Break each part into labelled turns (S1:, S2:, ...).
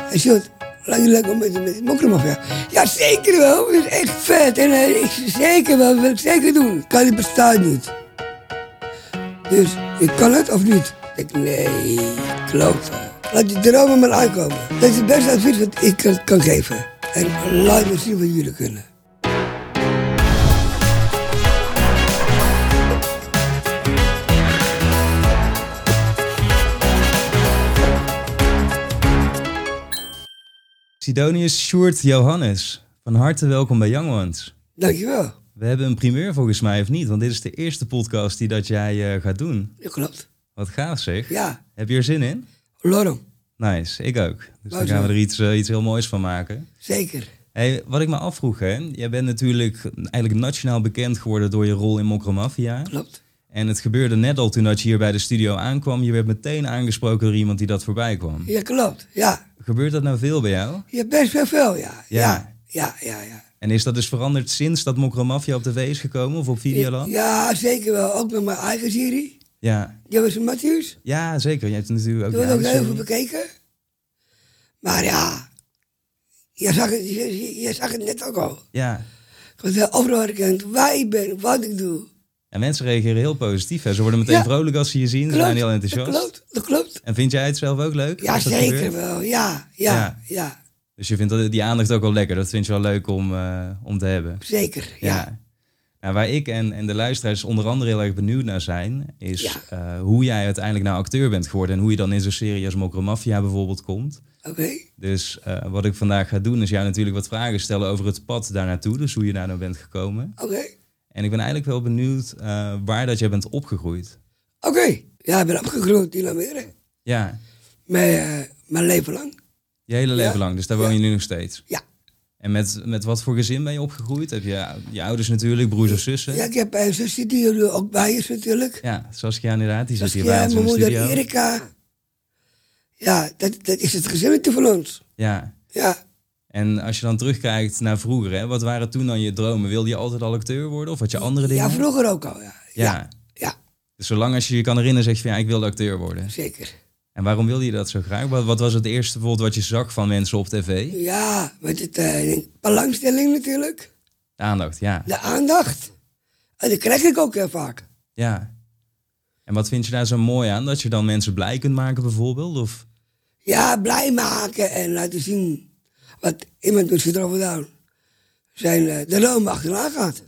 S1: Hij zegt, lijkt je lekker om met, met mokromaf weg? Ja, zeker wel. Dat is echt vet. En hij ik- zeker wel, dat wil ik zeker doen. Kali bestaat niet. Dus, ik kan het of niet? Ik denk, nee, klopt. Laat je dromen maar aankomen. Dat is het beste advies wat ik kan, kan geven. En laat me zien wat jullie kunnen.
S2: Sidonius Sjoerd Johannes, van harte welkom bij Young Ones.
S1: Dankjewel.
S2: We hebben een primeur volgens mij, of niet? Want dit is de eerste podcast die dat jij eh, gaat doen.
S1: Ja, klopt.
S2: Wat gaaf zeg.
S1: Ja,
S2: Heb je er zin in?
S1: Lorem.
S2: Nice, ik ook. Dus
S1: Wauw,
S2: dan gaan we
S1: zo.
S2: er iets, eh, iets heel moois van maken.
S1: Zeker.
S2: Hey, wat ik me afvroeg, hè? jij bent natuurlijk eigenlijk nationaal bekend geworden door je rol in Mokromafia.
S1: Klopt.
S2: En het gebeurde net al toen dat je hier bij de studio aankwam. Je werd meteen aangesproken door iemand die dat voorbij kwam.
S1: Ja, klopt. Ja.
S2: Gebeurt dat nou veel bij jou?
S1: Je hebt best wel veel, ja.
S2: Ja.
S1: Ja, ja, ja. ja.
S2: En is dat dus veranderd sinds dat Mokromafia op tv is gekomen of op Videoland?
S1: Ja, zeker wel. Ook met mijn eigen serie.
S2: Ja.
S1: Die was een Matthews.
S2: ja, zeker. Je hebt natuurlijk ook...
S1: Die wordt
S2: ja,
S1: ook heel
S2: sorry.
S1: veel bekeken. Maar ja, je zag het, je, je- je zag het net ook al.
S2: ja.
S1: Ik was heel overal herkend waar ik ben, wat ik doe.
S2: En mensen reageren heel positief. Hè? Ze worden meteen
S1: Ja.
S2: vrolijk als ze je zien. Ze zijn heel enthousiast.
S1: Dat klopt, dat klopt.
S2: En vind jij het zelf ook leuk?
S1: Ja,
S2: als dat
S1: zeker
S2: gebeurt?
S1: wel. Ja, ja,
S2: Ja.
S1: ja,
S2: Dus je vindt dat- die aandacht ook wel lekker. Dat vind je wel leuk om, eh, om te hebben.
S1: Zeker, ja.
S2: Ja. Nou, waar ik en, en de luisteraars onder andere heel erg benieuwd naar zijn, is
S1: Ja.
S2: eh, hoe jij uiteindelijk nou acteur bent geworden en hoe je dan in zo'n serie als Mokro Mafia bijvoorbeeld komt.
S1: Oké,
S2: Dus eh, wat ik vandaag ga doen is jou natuurlijk wat vragen stellen over het pad daar naartoe, dus hoe je daar nou bent gekomen.
S1: oké.
S2: En ik ben eigenlijk wel benieuwd eh, waar dat jij bent opgegroeid.
S1: Oké. Ja, ik ben opgegroeid in Amerika.
S2: Ja,
S1: Mijn, eh, mijn leven lang.
S2: je hele leven
S1: Ja.
S2: lang, dus daar woon je nu nog steeds.
S1: Ja.
S2: En met, met wat voor gezin ben je opgegroeid? Heb je je ouders natuurlijk, broers of zussen?
S1: Ja, ik heb een zusje die er ook bij is natuurlijk.
S2: Ja, Saskia inderdaad, die zit hier bij
S1: Ja,
S2: ons
S1: mijn
S2: in de
S1: moeder
S2: studio.
S1: Erika. Ja, dat, dat is het gezinnetje van ons.
S2: Ja,
S1: Ja.
S2: En als je dan terugkijkt naar vroeger, hè, wat waren toen dan je dromen? Wilde je altijd al acteur worden of had je andere dingen?
S1: ja, vroeger ook al. Ja.
S2: Ja.
S1: Ja, ja,
S2: Dus zolang als je je kan herinneren, zeg je van ja, ik wilde acteur worden.
S1: zeker.
S2: En waarom wilde je dat zo graag? Wat, wat was het eerste bijvoorbeeld wat je zag van mensen op tv?
S1: Ja, met het eh, belangstelling natuurlijk.
S2: De aandacht, ja.
S1: De aandacht. En dat krijg ik ook heel vaak.
S2: ja. En wat vind je daar zo mooi aan? Dat je dan mensen blij kunt maken bijvoorbeeld? Of
S1: Ja, blij maken en laten zien wat iemand met syndroom van Down zijn eh, de droom achterna gaat.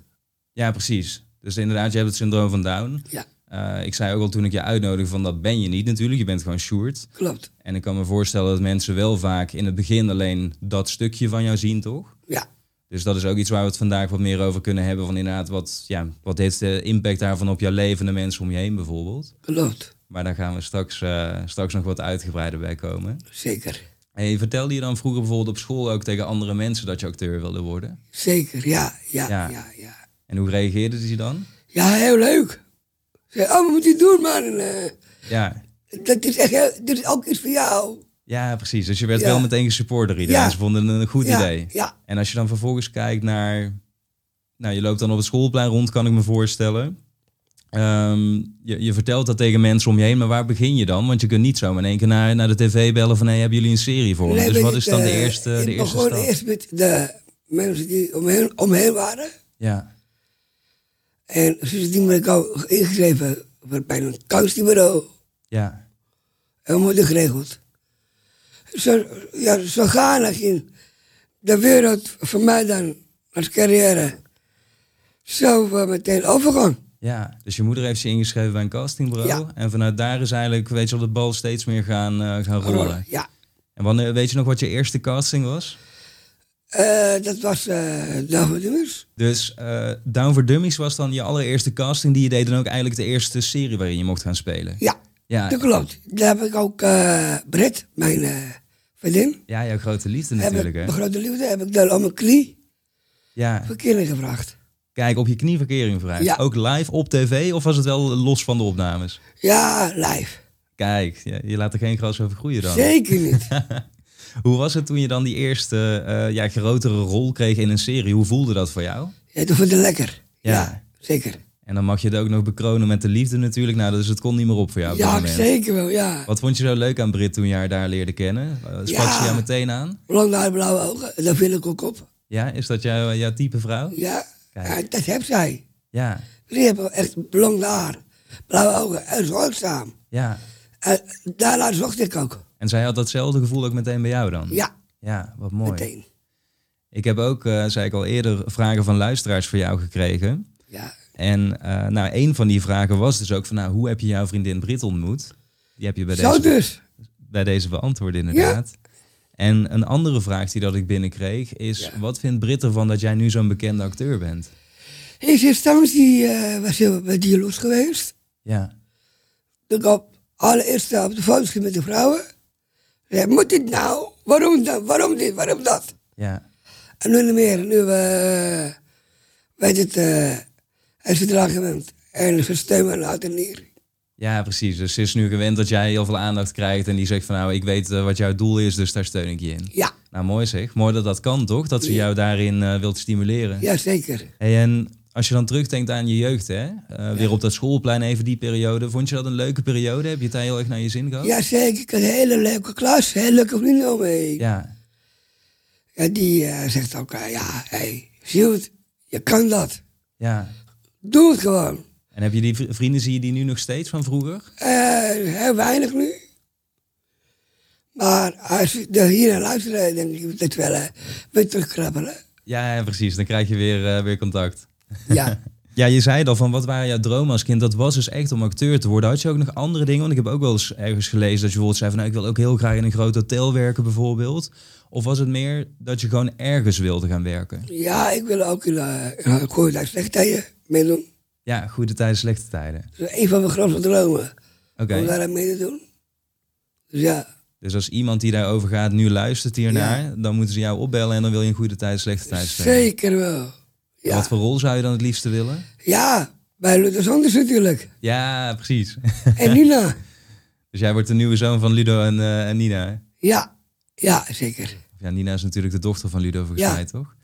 S2: Ja, precies. Dus inderdaad, je hebt het syndroom van Down.
S1: Ja,
S2: Eh, ik zei ook al toen ik je uitnodigde van dat ben je niet natuurlijk. Je bent gewoon Sjoerd.
S1: klopt.
S2: En ik kan me voorstellen dat mensen wel vaak in het begin alleen dat stukje van jou zien, toch?
S1: Ja,
S2: Dus dat is ook iets waar we het vandaag wat meer over kunnen hebben. Van inderdaad, wat, ja, wat heeft de impact daarvan op jouw leven en de mensen om je heen bijvoorbeeld?
S1: klopt.
S2: Maar daar gaan we straks, eh, straks nog wat uitgebreider bij komen.
S1: Zeker.
S2: Hey, vertelde je dan vroeger bijvoorbeeld op school ook tegen andere mensen dat je acteur wilde worden?
S1: Zeker, ja, ja,
S2: Ja.
S1: ja, ja. ja.
S2: En hoe reageerden ze dan?
S1: heel leuk. Zei, oh, wat moet je doen, man? Eh,
S2: Ja,
S1: dat is echt heel, dit is ook iets voor jou.
S2: ja precies. Dus je werd
S1: Ja.
S2: wel meteen gesupport door iedereen.
S1: Ja.
S2: Ze vonden het een goed
S1: ja,
S2: idee.
S1: Ja,
S2: En als je dan vervolgens kijkt naar... Nou, je loopt dan op het schoolplein rond, kan ik me voorstellen. Ehm, je, je vertelt dat tegen mensen om je heen, maar waar begin je dan? Want je kunt niet zo in één keer naar, naar de tv bellen van... hé, hebben jullie een serie voor me?
S1: Nee,
S2: dus
S1: weet
S2: wat
S1: ik,
S2: is dan de
S1: eh,
S2: eerste, de
S1: ik
S2: eerste
S1: begon
S2: stap?
S1: eerst met de mensen die omheen, omheen waren.
S2: Ja,
S1: En sindsdien ben ik al ingeschreven voor bij een kansbureau.
S2: ja,
S1: Heel mooi geregeld. Zo, ja, zo gaande in de wereld voor mij dan als carrière zo eh, meteen overgang.
S2: ja. Dus je moeder heeft je ingeschreven bij een castingbureau.
S1: Ja.
S2: En vanuit daar is eigenlijk, weet je wel, de bal steeds meer gaan, eh, gaan rollen.
S1: Ja.
S2: En wanneer, weet je nog wat je eerste casting was?
S1: Eh, dat was eh David Dummers.
S2: Dus eh, Down for Dummies was dan je allereerste casting die je deed... en ook eigenlijk de eerste serie waarin je mocht gaan spelen.
S1: Ja,
S2: Ja,
S1: dat klopt. Daar heb ik ook eh Britt, mijn eh vriendin.
S2: Ja, jouw grote liefde
S1: Heb ik,
S2: natuurlijk, hè?
S1: mijn grote liefde heb ik daar om mijn knie
S2: Ja,
S1: verkering gevraagd.
S2: kijk, op je knieverkering vragen.
S1: Ja.
S2: Ook live op tv of was het wel los van de opnames?
S1: Ja, live.
S2: Kijk, je, je laat er geen gras over groeien dan.
S1: Zeker niet.
S2: Hoe was het toen je dan die eerste eh, ja, grotere rol kreeg in een serie? Hoe voelde dat voor jou?
S1: Ja, dat vond ik lekker.
S2: Ja.
S1: Ja, zeker.
S2: En dan mag je het ook nog bekronen met de liefde natuurlijk. Nou, dus het kon niet meer op voor jou op dat
S1: Ja,
S2: moment.
S1: zeker wel, ja.
S2: Wat vond je zo leuk aan Brit toen je haar daar leerde kennen? Eh, Sprak
S1: Ja.
S2: ze jou meteen aan?
S1: Lang naar blauwe ogen, daar viel ik ook op.
S2: Ja, is dat jouw, jouw type vrouw?
S1: Ja,
S2: Kijk.
S1: ja, dat heb zij.
S2: Ja,
S1: Die hebben echt lang haar, blauwe ogen en zorgzaam.
S2: ja.
S1: En daarna zocht ik ook.
S2: En zij had datzelfde gevoel ook meteen bij jou dan?
S1: Ja,
S2: Ja, wat mooi.
S1: meteen.
S2: Ik heb ook, eh, zei ik al eerder, vragen van luisteraars voor jou gekregen.
S1: Ja.
S2: En eh nou, een van die vragen was dus ook van, nou, hoe heb je jouw vriendin Brit ontmoet? Die heb je bij
S1: Zo
S2: deze
S1: dus.
S2: bij deze beantwoord inderdaad. En een andere vraag die dat ik binnenkreeg is... wat vindt Brit ervan dat jij nu zo'n bekende acteur bent?
S1: In eerste instantie eh, was hij bij die los geweest.
S2: Ja,
S1: Toen ik op allereerst op de foto ging met de vrouwen. Zei, moet dit nou? Waarom dan? Waarom dit? Waarom dat?
S2: ja,
S1: En nu niet meer. Nu eh weet het, eh hij is verdrag gewend. En ze stemmen uit en neer.
S2: ja, precies. Dus ze is nu gewend dat jij heel veel aandacht krijgt... en die zegt van nou, ik weet eh, wat jouw doel is, dus daar steun ik je in.
S1: Ja,
S2: Nou, mooi zeg. Mooi dat dat kan, toch? Dat ze jou daarin eh, wilt stimuleren.
S1: ja zeker.
S2: Hey, en als je dan terugdenkt aan je jeugd, hè? Eh, weer op dat schoolplein, even die periode. Vond je dat een leuke periode? Heb je het daar heel erg naar je zin gehad?
S1: Ja, zeker. Ik had een hele leuke klas. Hele leuke vrienden om me heen.
S2: Ja,
S1: En die eh, zegt ook, eh, ja, hey, Sjoerd, je kan dat.
S2: ja.
S1: Doe het gewoon.
S2: En heb je die vri- vrienden, zie je die nu nog steeds van vroeger?
S1: Eh, heel weinig nu. Maar als je er hier naar luistert, denk ik dat wel eh, weer terugkrabbelen.
S2: Ja, ja, precies. Dan krijg je weer, eh, weer contact.
S1: Ja.
S2: Ja, je zei het al van wat waren jouw dromen als kind? Dat was dus echt om acteur te worden. Had je ook nog andere dingen? Want ik heb ook wel eens ergens gelezen dat je bijvoorbeeld zei van... Nou, ik wil ook heel graag in een groot hotel werken bijvoorbeeld. Of was het meer dat je gewoon ergens wilde gaan werken?
S1: ja, ik wil ook in uh, goede dag slechtheden meedoen.
S2: Ja, goede tijden, slechte tijden.
S1: Dat is een van mijn grootste dromen.
S2: Oké,
S1: Om daar aan mee te doen. Dus ja,
S2: dus als iemand die daarover gaat nu luistert hiernaar... dan moeten ze jou opbellen en dan wil je een goede tijd, slechte tijd spelen.
S1: zeker wel. Ja,
S2: eh, Wat voor rol zou je dan het liefste willen?
S1: ja bij Luther Sanders natuurlijk.
S2: Ja, precies.
S1: En Nina.
S2: dus jij wordt de nieuwe zoon van Ludo en, eh, en Nina, hè?
S1: Ja, ja, zeker.
S2: Of Ja, Nina is natuurlijk de dochter van Ludo volgens
S1: Ja.
S2: mij, toch?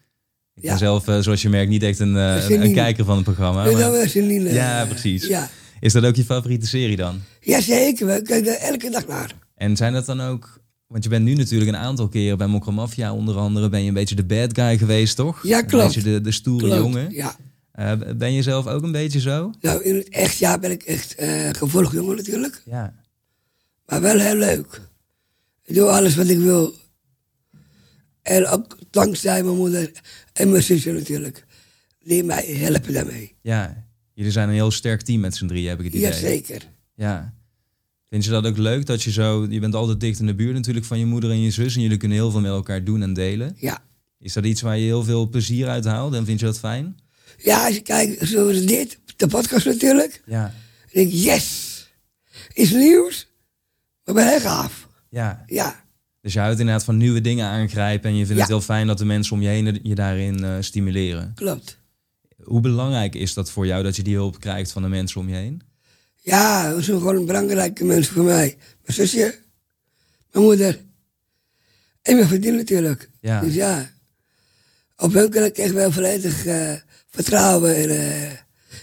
S2: Ik
S1: Ja.
S2: ben zelf, eh, zoals je merkt, niet echt een, eh,
S1: Dat is
S2: een, een
S1: niet-
S2: kijker van het programma.
S1: En dan
S2: maar-
S1: was er Nina.
S2: Oh, Ja, precies.
S1: Ja,
S2: Is dat ook je favoriete serie dan?
S1: ja zeker. We kijken er elke dag naar.
S2: En zijn dat dan ook... Want je bent nu natuurlijk een aantal keren bij Mokra Mafia onder andere... ben je een beetje de bad guy geweest, toch?
S1: Ja,
S2: Een
S1: klopt.
S2: beetje de, de stoere
S1: Klopt,
S2: jongen.
S1: Ja.
S2: Eh, ben je zelf ook een beetje zo?
S1: Nou, in het echt ja ben ik echt eh gevoelig jongen natuurlijk.
S2: Ja.
S1: Maar wel heel leuk. Ik doe alles wat ik wil. En ook dankzij mijn moeder en mijn zusje natuurlijk. Die mij helpen daarmee.
S2: Ja. Jullie zijn een heel sterk team met z'n drieën, heb ik het idee.
S1: Jazeker.
S2: Ja. Vind je dat ook leuk dat je zo... Je bent altijd dicht in de buurt natuurlijk van je moeder en je zus... en jullie kunnen heel veel met elkaar doen en delen.
S1: Ja.
S2: Is dat iets waar je heel veel plezier uit haalt en vind je dat fijn?
S1: ja, als je kijkt zoals dit, de podcast natuurlijk.
S2: Ja.
S1: Dan denk ik, yes! Is nieuws, maar ben heel gaaf.
S2: ja.
S1: Ja,
S2: Dus je houdt inderdaad van nieuwe dingen aangrijpen en je vindt het
S1: Ja.
S2: heel fijn dat de mensen om je heen je daarin eh, stimuleren.
S1: klopt.
S2: Hoe belangrijk is dat voor jou dat je die hulp krijgt van de mensen om je heen?
S1: Ja, dat zijn gewoon belangrijke mensen voor mij. Mijn zusje, mijn moeder en mijn vriendin natuurlijk.
S2: Ja.
S1: Dus ja, op hun kan ik echt wel volledig eh, vertrouwen en, eh,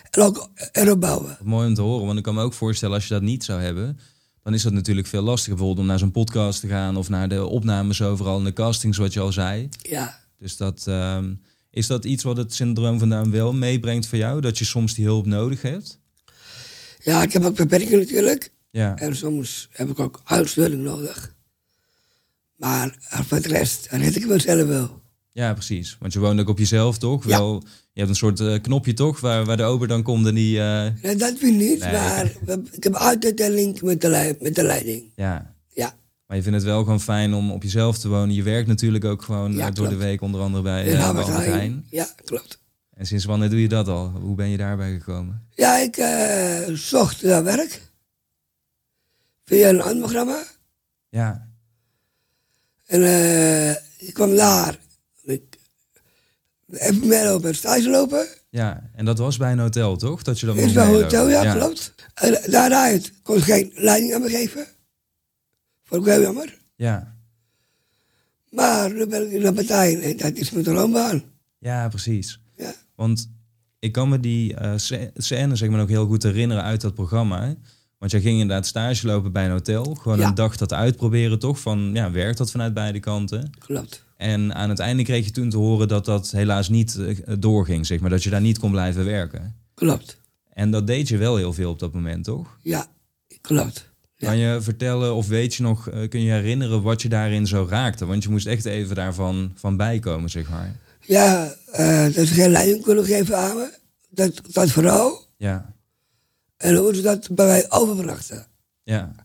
S1: en ook erop bouwen.
S2: Wat mooi om te horen, want ik kan me ook voorstellen als je dat niet zou hebben, dan is dat natuurlijk veel lastiger. Bijvoorbeeld om naar zo'n podcast te gaan of naar de opnames overal en de castings wat je al zei.
S1: Ja,
S2: Dus dat, ehm, is dat iets wat het syndroom vandaan wel meebrengt voor jou? Dat je soms die hulp nodig hebt?
S1: ja ik heb ook beperkingen natuurlijk.
S2: Ja.
S1: En soms heb ik ook huisvulling nodig. Maar eh, voor het rest, dan red ik mezelf wel.
S2: Ja, precies. Want je woont ook op jezelf, toch?
S1: Ja.
S2: Wel, je hebt een soort eh, knopje, toch? Waar, waar de ober dan komt en die... eh,
S1: Nee, dat vind ik niet,
S2: Nee.
S1: maar we- ik heb altijd een link met de, lei- met de leiding.
S2: ja.
S1: Ja,
S2: Maar je vindt het wel gewoon fijn om op jezelf te wonen. Je werkt natuurlijk ook gewoon
S1: Ja,
S2: eh, door de
S1: klopt.
S2: week, onder andere bij
S1: in
S2: eh, bij
S1: Albert
S2: Albert
S1: Heijn.
S2: Heijn.
S1: Ja, klopt.
S2: En sinds wanneer doe je dat al? Hoe ben je daarbij gekomen?
S1: Ja, ik eh, zocht naar werk. Via een ander programma.
S2: Ja,
S1: En eh, ik kwam daar. Ik, even meelopen en stage lopen.
S2: ja. En dat was bij een hotel, toch? Dat je dat
S1: Eerst
S2: mocht
S1: bij een
S2: meelopen.
S1: hotel, ja, klopt. En daaruit kon ik geen leiding aan me geven. Vond ik heel jammer.
S2: Ja.
S1: Maar nu ben ik in de partij en dat is mijn droombaan.
S2: ja, precies.
S1: Ja.
S2: Want ik kan me die eh, sc- scène zeg maar, ook heel goed herinneren uit dat programma. Want jij ging inderdaad stage lopen bij een hotel. Gewoon
S1: Ja.
S2: een dag dat uitproberen toch. Van, ja, werkt dat vanuit beide kanten?
S1: Klopt.
S2: En aan het einde kreeg je toen te horen dat dat helaas niet eh, doorging. Zeg maar, dat je daar niet kon blijven werken.
S1: Klopt.
S2: En dat deed je wel heel veel op dat moment, toch?
S1: Ja, klopt. Ja.
S2: Kan je vertellen of weet je nog, eh, kun je herinneren wat je daarin zo raakte? Want je moest echt even daarvan van bijkomen, zeg maar.
S1: Ja, eh, dat ze geen leiding kunnen geven aan me. Dat, dat vooral.
S2: Ja,
S1: En hoe ze dat bij mij overbrachten.
S2: ja,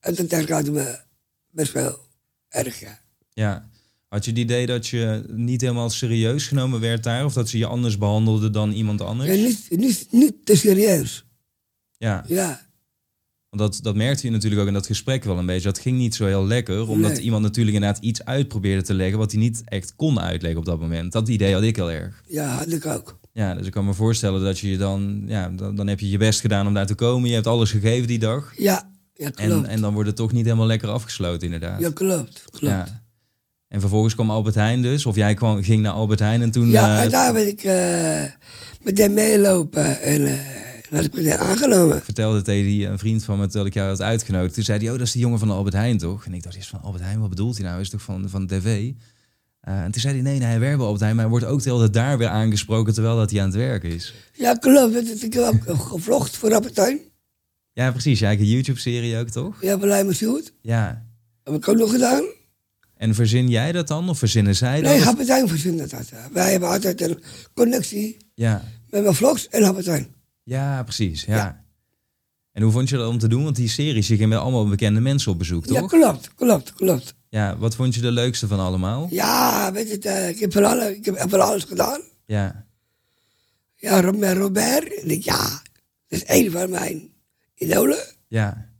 S1: En dat raakte me best wel erg, ja.
S2: ja. Had je het idee dat je niet helemaal serieus genomen werd daar? Of dat ze je anders behandelden dan iemand
S1: ja
S2: anders?
S1: niet, niet, niet te serieus.
S2: Ja,
S1: Ja,
S2: want dat, dat merkte je natuurlijk ook in dat gesprek wel een beetje. Dat ging niet zo heel lekker, omdat
S1: Nee.
S2: iemand natuurlijk inderdaad iets uit probeerde te leggen... wat hij niet echt kon uitleggen op dat moment. Dat idee had ik heel erg.
S1: ja, had ik ook.
S2: Ja, dus ik kan me voorstellen dat je je dan... Ja, dan, dan heb je je best gedaan om daar te komen. Je hebt alles gegeven die dag.
S1: Ja, ja klopt.
S2: En, en dan wordt het toch niet helemaal lekker afgesloten, inderdaad.
S1: ja, klopt, klopt. Ja,
S2: Ja. En vervolgens kwam Albert Heijn dus, of jij kwam, ging naar Albert Heijn en toen... eh,
S1: en daar ben ik eh, meteen meelopen en eh, dat ik meteen aangenomen.
S2: vertelde tegen die, een vriend van me, terwijl ik jou had uitgenodigd. Toen zei hij, oh, dat is die jongen van de Albert Heijn, toch? En ik dacht eerst van, Albert Heijn, wat bedoelt hij nou? Is toch van, van tv? Eh, en toen zei hij, nee, nee, hij werkt bij Albert Heijn, maar hij wordt ook de hele tijd daar weer aangesproken terwijl dat hij aan het werk is.
S1: Ja, klopt. Dat is- Ik heb ook gevlogd voor Rappertuin.
S2: Ja, precies. Ja, ik een YouTube-serie ook, toch?
S1: Ja, bij Lijmen Sjoerd.
S2: Ja.
S1: Heb ik ook nog gedaan.
S2: En verzin jij dat dan? Of verzinnen zij dat?
S1: Nee,
S2: Of-
S1: Rappertuin verzint dat. eh. Wij hebben altijd een connectie
S2: Ja.
S1: met mijn vlogs en Rappertuin.
S2: Ja, precies. Ja.
S1: Ja.
S2: En hoe vond je dat om te doen? Want die series, je ging met allemaal bekende mensen op bezoek,
S1: Ja,
S2: toch? Ja,
S1: klopt, klopt, klopt.
S2: wat vond je de leukste van allemaal?
S1: Ja, weet je, eh, ik, heb van alle, ik heb van alles gedaan.
S2: Ja,
S1: Ja, Ro- met Robert. En ik, ja, dat is één van mijn idolen.
S2: ja.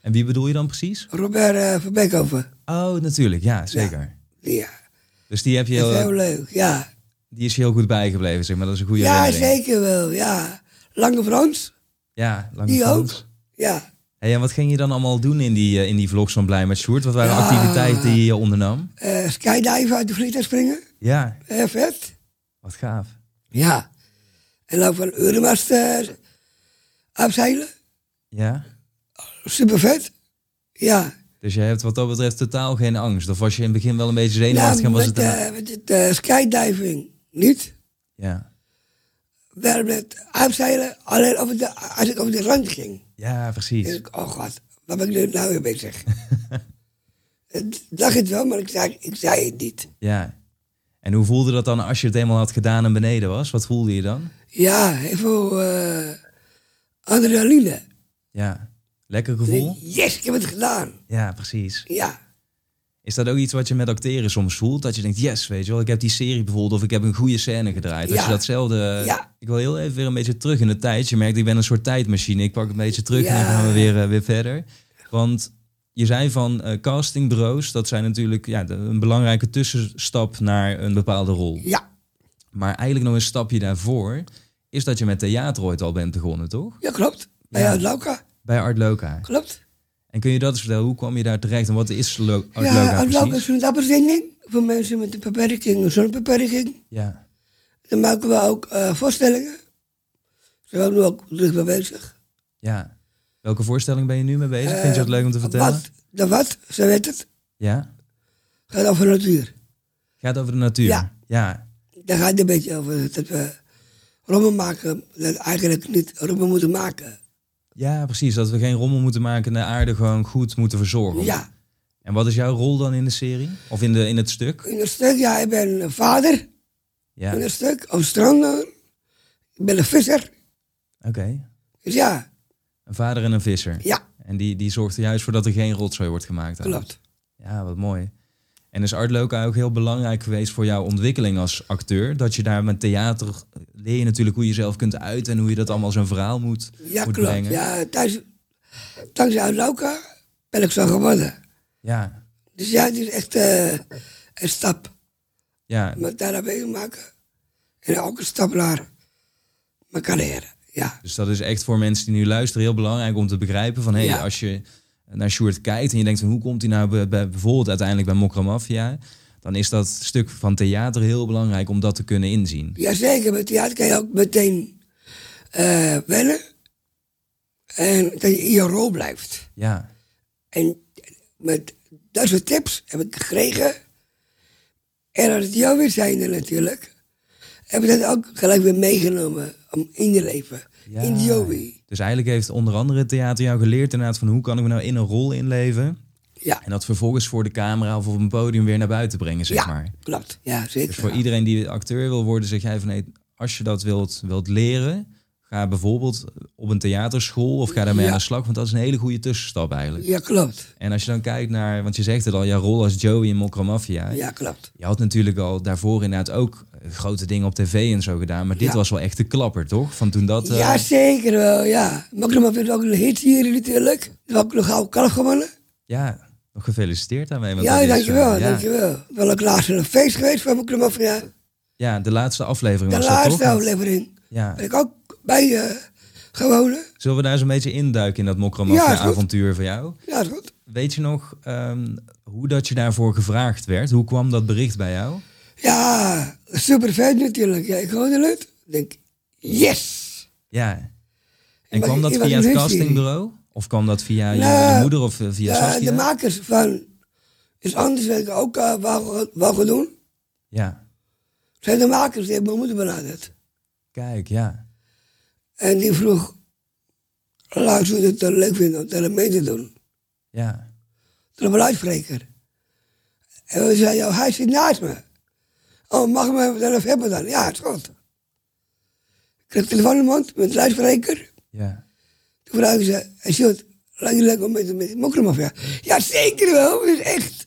S2: En wie bedoel je dan precies?
S1: Robert eh, van Beekhoven.
S2: Oh, natuurlijk. Ja, zeker.
S1: Ja,
S2: Dus die, heb je
S1: dat is heel
S2: heel,
S1: leuk, ja.
S2: die is je heel goed bijgebleven, zeg maar. Dat is een goede
S1: Ja,
S2: herinnering.
S1: zeker wel, ja. Lange Frans,
S2: Ja, lang
S1: die
S2: Frans.
S1: ook. Ja,
S2: Hey, en wat ging je dan allemaal doen in die, eh, in die vlogs van Blij met Sjoerd? Wat waren
S1: Ja.
S2: activiteiten die je ondernam?
S1: Eh skydiven uit de vliegtuig springen.
S2: Ja,
S1: Eh, vet.
S2: wat gaaf.
S1: Ja. En dan van Euromast eh afzeilen.
S2: Ja.
S1: Super vet. Ja.
S2: Dus je hebt wat dat betreft totaal geen angst. Of was je in het begin wel een beetje zenuwachtig en was het
S1: met,
S2: daarna-
S1: eh, met het, eh, skydiving niet.
S2: Ja.
S1: Wel met afzeilen, alleen over de, als ik over de rand ging.
S2: ja,
S1: Dus
S2: precies.
S1: ik, oh god, waar ben ik nu nou weer bezig? ik dacht het wel, maar ik zei, ik zei het niet.
S2: Ja. En hoe voelde dat dan als je het eenmaal had gedaan en beneden was? Wat voelde je dan?
S1: Ja, heel veel eh, adrenaline.
S2: Ja. Lekker gevoel?
S1: Yes, ik heb het gedaan.
S2: Ja, precies.
S1: Ja,
S2: Is dat ook iets wat je met acteren soms voelt? Dat je denkt, yes, weet je wel, ik heb die serie bijvoorbeeld of ik heb een goede scène gedraaid. Dat
S1: Ja.
S2: je datzelfde... eh,
S1: Ja.
S2: Ik wil heel even weer een beetje terug in de tijd. Je merkt, ik ben een soort tijdmachine. Ik pak een beetje terug en
S1: Ja.
S2: dan gaan we weer, eh, weer verder. Want je zei van eh, castingbureaus, dat zijn natuurlijk ja, de- een belangrijke tussenstap naar een bepaalde rol.
S1: ja,
S2: Maar eigenlijk nog een stapje daarvoor is dat je met theater ooit al bent begonnen, toch?
S1: ja klopt. Bij
S2: Ja.
S1: ja. Lauka,
S2: Bij Art Loka.
S1: klopt.
S2: En kun je dat eens vertellen? Hoe kwam je daar terecht en wat is Lo- Art
S1: ja,
S2: Loka
S1: Art Lauka is
S2: precies?
S1: een afbezinning voor mensen met een beperking, een zonbeperking.
S2: Ja,
S1: Dan maken we ook eh, voorstellingen. Daar zijn we nu ook druk mee bezig.
S2: ja. Welke voorstelling ben je nu mee bezig? Vind je dat leuk om te vertellen?
S1: Eh, Wat, de wat, ze weet het,
S2: Ja.
S1: gaat over natuur.
S2: Gaat over de natuur.
S1: Ja.
S2: ja.
S1: Daar gaat het een beetje over dat we rommel maken, dat we eigenlijk niet rommel moeten maken.
S2: Ja, precies. Dat we geen rommel moeten maken en de aarde gewoon goed moeten verzorgen.
S1: Ja,
S2: En wat is jouw rol dan in de serie? Of in, de, in het stuk?
S1: in een stuk, ja, ik ben een vader,
S2: Ja,
S1: in
S2: oké.
S1: een stuk, op stranden. Ik ben een visser. Dus ja,
S2: Een vader en een visser.
S1: ja,
S2: En die, die zorgt er juist voor dat er geen rotzooi wordt gemaakt. eigenlijk.
S1: klopt.
S2: Ja, wat mooi. En is Art Loka ook heel belangrijk geweest voor jouw ontwikkeling als acteur? Dat je daar met theater leer je natuurlijk hoe je jezelf kunt uiten en hoe je dat allemaal zo'n verhaal moet,
S1: Ja,
S2: moet
S1: klopt.
S2: brengen.
S1: Ja, thuis, dankzij Lauka ben ik zo geworden.
S2: ja,
S1: Dus ja, het is echt eh, een stap.
S2: ja.
S1: Maar daarna ben ik maken. En ook een stap naar mijn carrière. Ja,
S2: Dus dat is echt voor mensen die nu luisteren heel belangrijk om te begrijpen van hey,
S1: Ja.
S2: als je naar Sjoerd kijkt en je denkt van hoe komt hij nou bij, bij- bijvoorbeeld uiteindelijk bij Mokra Mafia, dan is dat stuk van theater heel belangrijk om dat te kunnen inzien.
S1: Jazeker, met theater kan je ook meteen eh wennen. En dat je in je rol blijft.
S2: Ja,
S1: En met dat soort tips heb ik gekregen. En als het jou weer zijnde natuurlijk, heb ik dat ook gelijk weer meegenomen om in je leven.
S2: Ja.
S1: In Joey.
S2: dus eigenlijk heeft onder andere het theater jou geleerd inderdaad van hoe kan ik me nou in een rol inleven
S1: Ja,
S2: en dat vervolgens voor de camera of op een podium weer naar buiten brengen, zeg
S1: ja
S2: maar.
S1: klopt. Ja,
S2: Dus
S1: zeker.
S2: voor iedereen die acteur wil worden, zeg jij van nee, als je dat wilt, wilt leren, ga bijvoorbeeld op een theaterschool of ga daarmee
S1: Ja.
S2: aan de slag, want dat is een hele goede tussenstap eigenlijk.
S1: Ja, klopt.
S2: En als je dan kijkt naar, want je zegt het al, jouw rol als Joey in Mokra Mafia.
S1: Ja, klopt.
S2: Je had natuurlijk al daarvoor inderdaad ook eh, grote dingen op tv en zo gedaan, maar dit
S1: Ja.
S2: was wel echt de klapper, toch? Van toen dat... eh,
S1: Ja, zeker wel, ja. Magnum vindt ook een hit hier natuurlijk. Dat heb ik nog gauw kalf gewonnen.
S2: Ja, nog gefeliciteerd daarmee. want dat
S1: Ja,
S2: is,
S1: dankjewel,
S2: eh, ja.
S1: dankjewel. Wel ook laatst op een feest geweest van Magnum Mafia.
S2: Ja, de laatste aflevering
S1: De
S2: was dat, toch?
S1: laatste aflevering.
S2: Ja.
S1: Ben ik ook bij eh, gewonnen.
S2: Zullen we daar eens een beetje induiken in dat
S1: Ja, is goed.
S2: Mokramafia-avontuur van jou?
S1: Ja, is goed.
S2: Weet je nog ehm, hoe dat je daarvoor gevraagd werd? Hoe kwam dat bericht bij jou?
S1: Ja, super vet natuurlijk. Ja, ik hoorde het. Ik denk, yes!
S2: Ja. En
S1: was-
S2: kwam dat
S1: ik was
S2: via
S1: een
S2: het
S1: hutje.
S2: castingbureau? Of kwam dat via je
S1: Nou,
S2: je moeder of eh, via
S1: Ja,
S2: Saskia?
S1: de makers van Is Anders werken ook eh, wel wel gaan doen.
S2: ja,
S1: Zijn de makers, die hebben mijn moeder benaderd.
S2: kijk, ja.
S1: En die vroeg, laat hoe je het dan leuk vindt om daar mee te doen.
S2: Ja,
S1: Toen een luidspreker. En we zeiden, "Oh, hij zit naast me. Oh, mag ik mijn telefoon hebben dan? Ja, het is goed. Ik kreeg telefoon in de mond met de luidspreker.
S2: ja.
S1: Toen vragen ze, en Sjoerd, laat je lekker met, met mokromafia? Ja, zeker wel, dat is echt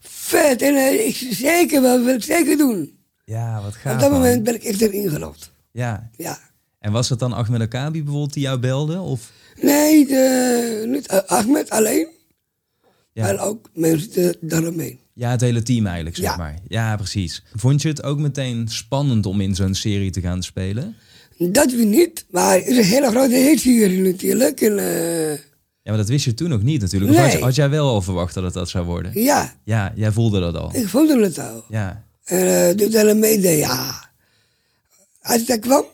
S1: vet. En eh, ik, zeker wel, wil ik zeker doen.
S2: Ja, wat gaaf.
S1: Op dat
S2: man.
S1: moment ben ik echt erin geloofd.
S2: Ja.
S1: Ja.
S2: En was het dan Ahmed Akabi bijvoorbeeld die jou belde? Of?
S1: Nee, de, niet eh, Ahmed alleen, maar
S2: Ja.
S1: ook mensen de- daaromheen.
S2: ja, het hele team eigenlijk, zeg
S1: Ja.
S2: maar. Ja, precies. Vond je het ook meteen spannend om in zo'n serie te gaan spelen?
S1: Dat we niet, maar het is een hele grote hit hier natuurlijk. En, eh,
S2: Ja, maar dat wist je toen nog niet natuurlijk. Of had, je-
S1: Nee.
S2: had jij wel al verwacht dat het dat zou worden?
S1: ja,
S2: Ja, jij voelde dat al.
S1: ik voelde het al.
S2: Ja,
S1: En uh, doet hij een mede, ja. Als ik daar kwam,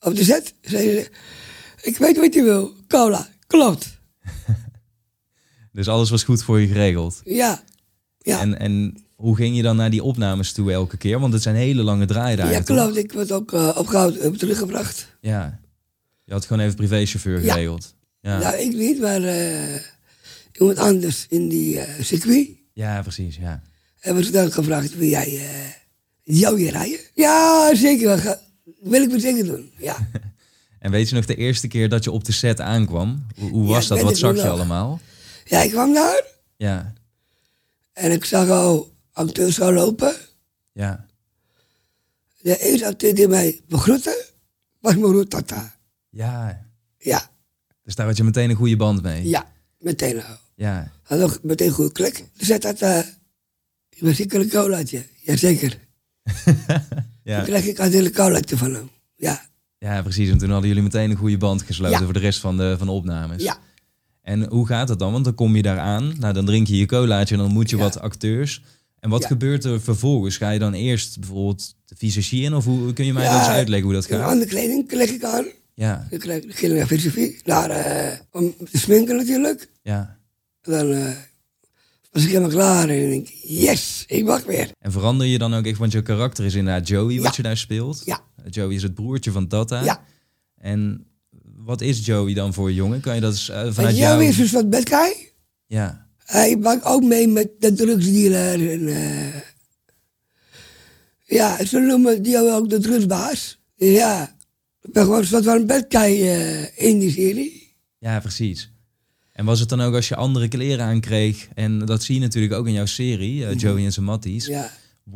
S1: op de set, zei ze, ik weet wat je wil, cola, klopt.
S2: dus alles was goed voor je geregeld.
S1: Ja, ja,
S2: En, en hoe ging je dan naar die opnames toe elke keer? Want het zijn hele lange draaidagen.
S1: ja
S2: toch?
S1: klopt. Ik werd ook eh, opgehouden, heb teruggebracht.
S2: Ja. Je had gewoon even privéchauffeur
S1: Ja.
S2: geregeld. Ja, ja.
S1: Nou, ik niet, maar eh, iemand anders in die eh, circuit.
S2: precies. Ja.
S1: Hebben ze dan gevraagd, wil jij eh, jou hier rijden? Ja, zeker wel. ga- wil ik me zeker doen, ja.
S2: En weet je nog de eerste keer dat je op de set aankwam? Hoe, hoe
S1: Ja,
S2: was
S1: ik
S2: dat?
S1: weet
S2: Wat
S1: het
S2: zag
S1: nog
S2: je
S1: wel.
S2: allemaal?
S1: ja, ik kwam daar
S2: Ja,
S1: en ik zag al acteurs al lopen.
S2: ja,
S1: De eerste acteur die mij begroette was Moro Tata.
S2: ja.
S1: Ja,
S2: Dus daar had je meteen een goede band mee.
S1: ja, meteen al.
S2: ja.
S1: Had ook meteen goed klik. Toen zei dat, eh ik ben zeker een colaatje. Jazeker. Toen
S2: ja.
S1: kreeg ik altijd een colaatje van hem. Ja,
S2: ja, precies. En toen hadden jullie meteen een goede band gesloten
S1: Ja.
S2: voor de rest van de, van de opnames.
S1: ja,
S2: En hoe gaat het dan? Want dan kom je daar aan. Nou, dan drink je je colaatje en dan moet je
S1: Ja.
S2: wat acteurs. En wat
S1: Ja.
S2: gebeurt er vervolgens? Ga je dan eerst bijvoorbeeld de visagie in? Of hoe kun je mij dat
S1: Ja,
S2: eens uitleggen hoe dat
S1: een
S2: gaat?
S1: andere kleding kreeg ik aan.
S2: Ja,
S1: Ik kreeg ik ging naar filosofie, naar, eh, om te sminken natuurlijk.
S2: ja.
S1: En dan eh, was ik helemaal klaar en ik denk, yes, ik mag weer.
S2: En verander je dan ook echt, want je karakter is inderdaad Joey, wat
S1: Ja.
S2: je daar speelt. Eh,
S1: Ja.
S2: Joey is het broertje van Data.
S1: Ja.
S2: En wat is Joey dan voor jongen? Kan je dat eens eh,
S1: Want
S2: vanuit jou...
S1: Joey is een soort bad guy.
S2: Ja,
S1: Hij maakt ook mee met de drugsdealer. En, eh, ja, ze noemen die ook de drugsbaas. Ja, ik ben gewoon een soort van bad guy eh, in die serie.
S2: ja, precies. En was het dan ook als je andere kleren aankreeg, en dat zie je natuurlijk ook in jouw serie,
S1: Mhm.
S2: eh, Joey en zijn matties,
S1: Ja,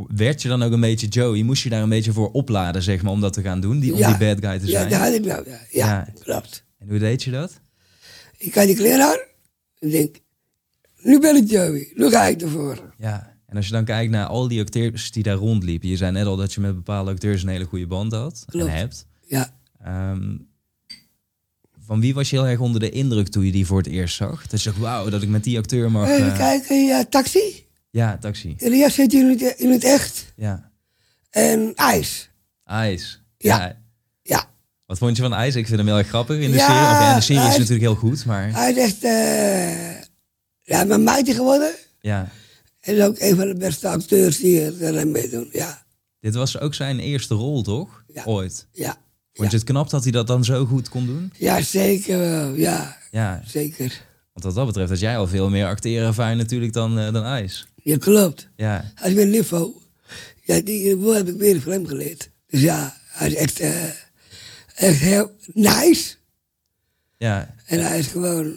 S2: werd je dan ook een beetje Joey? Moest je daar een beetje voor opladen, zeg maar, om dat te gaan doen? Die, om
S1: Ja.
S2: die bad guy te
S1: ja
S2: zijn?
S1: dat had ik nou. Ja, ja,
S2: Ja.
S1: klopt.
S2: En hoe deed je dat?
S1: Ik had die kleren aan en denk, nu ben ik Joey, nu ga ik ervoor.
S2: Ja. En als je dan kijkt naar al die acteurs die daar rondliepen. Je zei net al dat je met bepaalde acteurs een hele goede band had.
S1: Klopt.
S2: En hebt.
S1: Ja,
S2: Ehm, van wie was je heel erg onder de indruk toen je die voor het eerst zag? Dat je dacht, wauw, dat ik met die acteur mag...
S1: even
S2: eh,
S1: kijken, ja, taxi.
S2: Ja, taxi.
S1: En ja, zit je in het, in het echt.
S2: Ja.
S1: En ijs.
S2: IJs.
S1: Ja. Ja.
S2: Wat vond je van IJs? Ik vind hem heel erg grappig in de
S1: Ja,
S2: serie. Of ja, de serie is
S1: IJs.
S2: natuurlijk heel goed, maar
S1: Hij is echt... eh, ja, mijn meidje geworden.
S2: ja.
S1: En is ook een van de beste acteurs die er- erin meedoen. Ja.
S2: Dit was ook zijn eerste rol, toch?
S1: Ja.
S2: Ooit.
S1: Ja.
S2: Vond je het knap dat hij dat dan zo goed kon doen?
S1: Ja, zeker wel. Ja,
S2: Ja,
S1: zeker.
S2: want wat dat betreft had jij al veel meer acteerervaring natuurlijk dan, eh, dan IJs.
S1: Je klopt.
S2: Ja,
S1: Hij is weer niveau. Ja, die woord heb ik weer van hem geleerd. Dus ja, hij is echt, eh, echt heel nice.
S2: ja,
S1: En hij is gewoon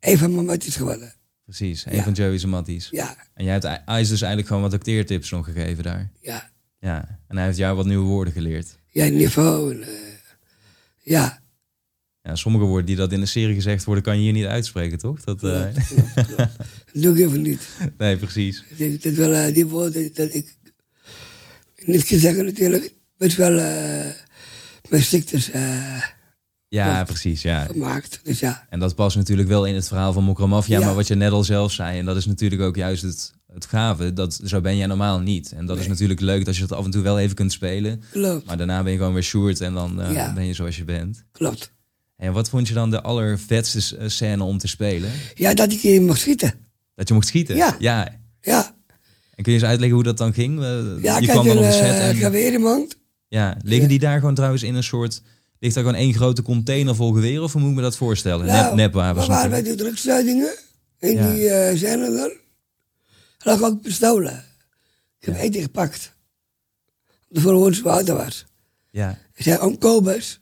S1: een van mijn matjes geworden.
S2: precies. Een
S1: Ja.
S2: van Joey's en Matties.
S1: Ja,
S2: En jij hebt I- IJs dus eigenlijk gewoon wat acteertips nog gegeven daar.
S1: ja.
S2: Ja, en hij heeft jou wat nieuwe woorden geleerd.
S1: Ja, niveau. En, eh, ja,
S2: Ja, sommige woorden die dat in de serie gezegd worden, kan je hier niet uitspreken, toch? Dat, eh,
S1: klopt, klopt, klopt. Dat doe ik even niet.
S2: nee, precies.
S1: Ik denk Dat wel, eh, die woorden dat ik niet kan zeggen natuurlijk, best wel eh, mijn ziektes eh,
S2: Ja, precies, ja.
S1: gemaakt. Dus ja,
S2: En dat past natuurlijk wel in het verhaal van Mokramafia,
S1: Ja.
S2: maar wat je net al zelf zei, en dat is natuurlijk ook juist het, het gave, dat zo ben jij normaal niet. En dat is
S1: Nee.
S2: natuurlijk leuk dat je dat af en toe wel even kunt spelen,
S1: klopt,
S2: maar daarna ben je gewoon weer Sjoerd en dan eh,
S1: Ja.
S2: ben je zoals je bent.
S1: klopt.
S2: En wat vond je dan de allervetste s- eh, scène om te spelen?
S1: Ja, dat ik in mag schieten.
S2: Dat je mocht schieten?
S1: Ja. Ja,
S2: En kun je eens uitleggen hoe dat dan ging? Eh,
S1: ja
S2: je
S1: ik had
S2: kwam dan
S1: een
S2: op de set
S1: eh,
S2: en...
S1: geweer in mijn hand.
S2: Ja, liggen die daar gewoon trouwens in een soort... Ligt daar gewoon één grote container vol geweren? Of hoe moet ik me dat voorstellen?
S1: Nou,
S2: Nep, nepwapens
S1: We waren bij
S2: natuurlijk.
S1: die drugszuidingen. En
S2: Ja.
S1: die eh, zijn er dan. Er lag ook pistolen. Ik heb
S2: Ja.
S1: eentje gepakt. De volgende water was.
S2: Ja,
S1: Ze zei, oom Kobus.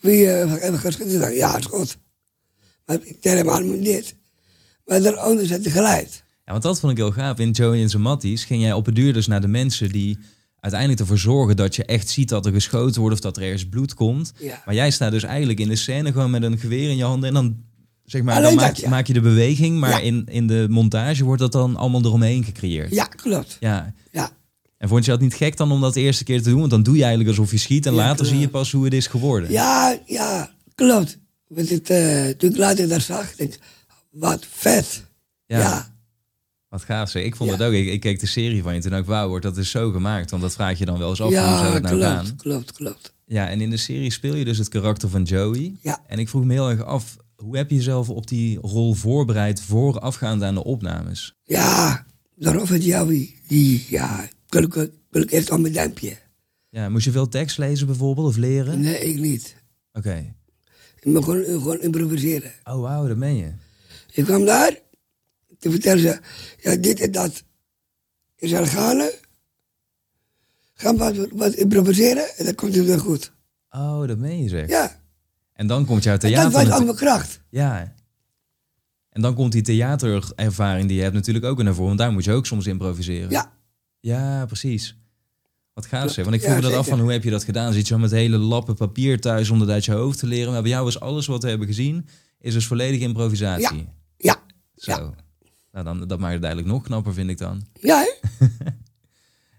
S1: Wie eh, van even gaat schieten? Ik dacht, Ja, is goed. Maar ik tel hem aan met dit. Maar daaronder zat hij geleid.
S2: Ja, want dat vond ik heel gaaf. In Joey en zijn Matties ging jij op het duur dus naar de mensen die uiteindelijk ervoor zorgen dat je echt ziet dat er geschoten wordt of dat er ergens bloed komt.
S1: Ja.
S2: Maar jij staat dus eigenlijk in de scène gewoon met een geweer in je handen en dan, zeg maar, dan
S1: Alleen
S2: maak,
S1: dat, ja.
S2: maak je de beweging, maar
S1: Ja.
S2: in, in de montage wordt dat dan allemaal eromheen gecreëerd.
S1: Ja, klopt.
S2: Ja.
S1: Ja.
S2: En vond je dat niet gek dan om dat de eerste keer te doen? Want dan doe je eigenlijk alsof je schiet en
S1: Ja,
S2: later
S1: klopt.
S2: zie je pas hoe het is geworden.
S1: Ja, ja, klopt. Want het, eh, toen ik later dat zag, denk ik, wat vet.
S2: Ja.
S1: ja.
S2: Wat gaaf zeg. Ik vond
S1: Ja.
S2: het ook. Ik, ik keek de serie van je toen ook, wauw, wordt dat is zo gemaakt. Want dat vraag je dan wel eens af, hoe zou
S1: Ja,
S2: het nou gaan?
S1: klopt, klopt, klopt.
S2: Ja, en in de serie speel je dus het karakter van Joey.
S1: Ja.
S2: En ik vroeg me heel erg af, hoe heb je jezelf op die rol voorbereid voorafgaand aan de opnames?
S1: Ja, dan of het Jawi, die, ja, wil ik, wil ik eerst aan mijn duimpje.
S2: Ja, moest je veel tekst lezen bijvoorbeeld of leren?
S1: Nee, ik niet.
S2: Oké.
S1: Ik moet gewoon, gewoon improviseren.
S2: Oh wauw, dat meen je.
S1: Ik kwam daar, toen vertelde ze, ja, dit en dat is al gaande. Ga maar wat, wat improviseren en dan komt het wel goed.
S2: Oh, dat meen je zeg.
S1: Ja,
S2: En dan komt jouw
S1: en dat
S2: theater...
S1: was
S2: natu-
S1: al mijn kracht.
S2: Ja. En dan komt die theaterervaring die je hebt natuurlijk ook naar voren. Want daar moet je ook soms improviseren.
S1: Ja,
S2: Ja, precies. Wat gaaf zeg. Want ik
S1: Ja,
S2: vroeg me dat af
S1: zeker.
S2: van hoe heb je dat gedaan? Zit je met hele lappen papier thuis om dat uit je hoofd te leren? Maar bij jou is alles wat we hebben gezien, is dus volledige improvisatie.
S1: ja,
S2: Zo. Nou, dan, dat maakt het eigenlijk nog knapper, vind ik dan.
S1: ja, hè?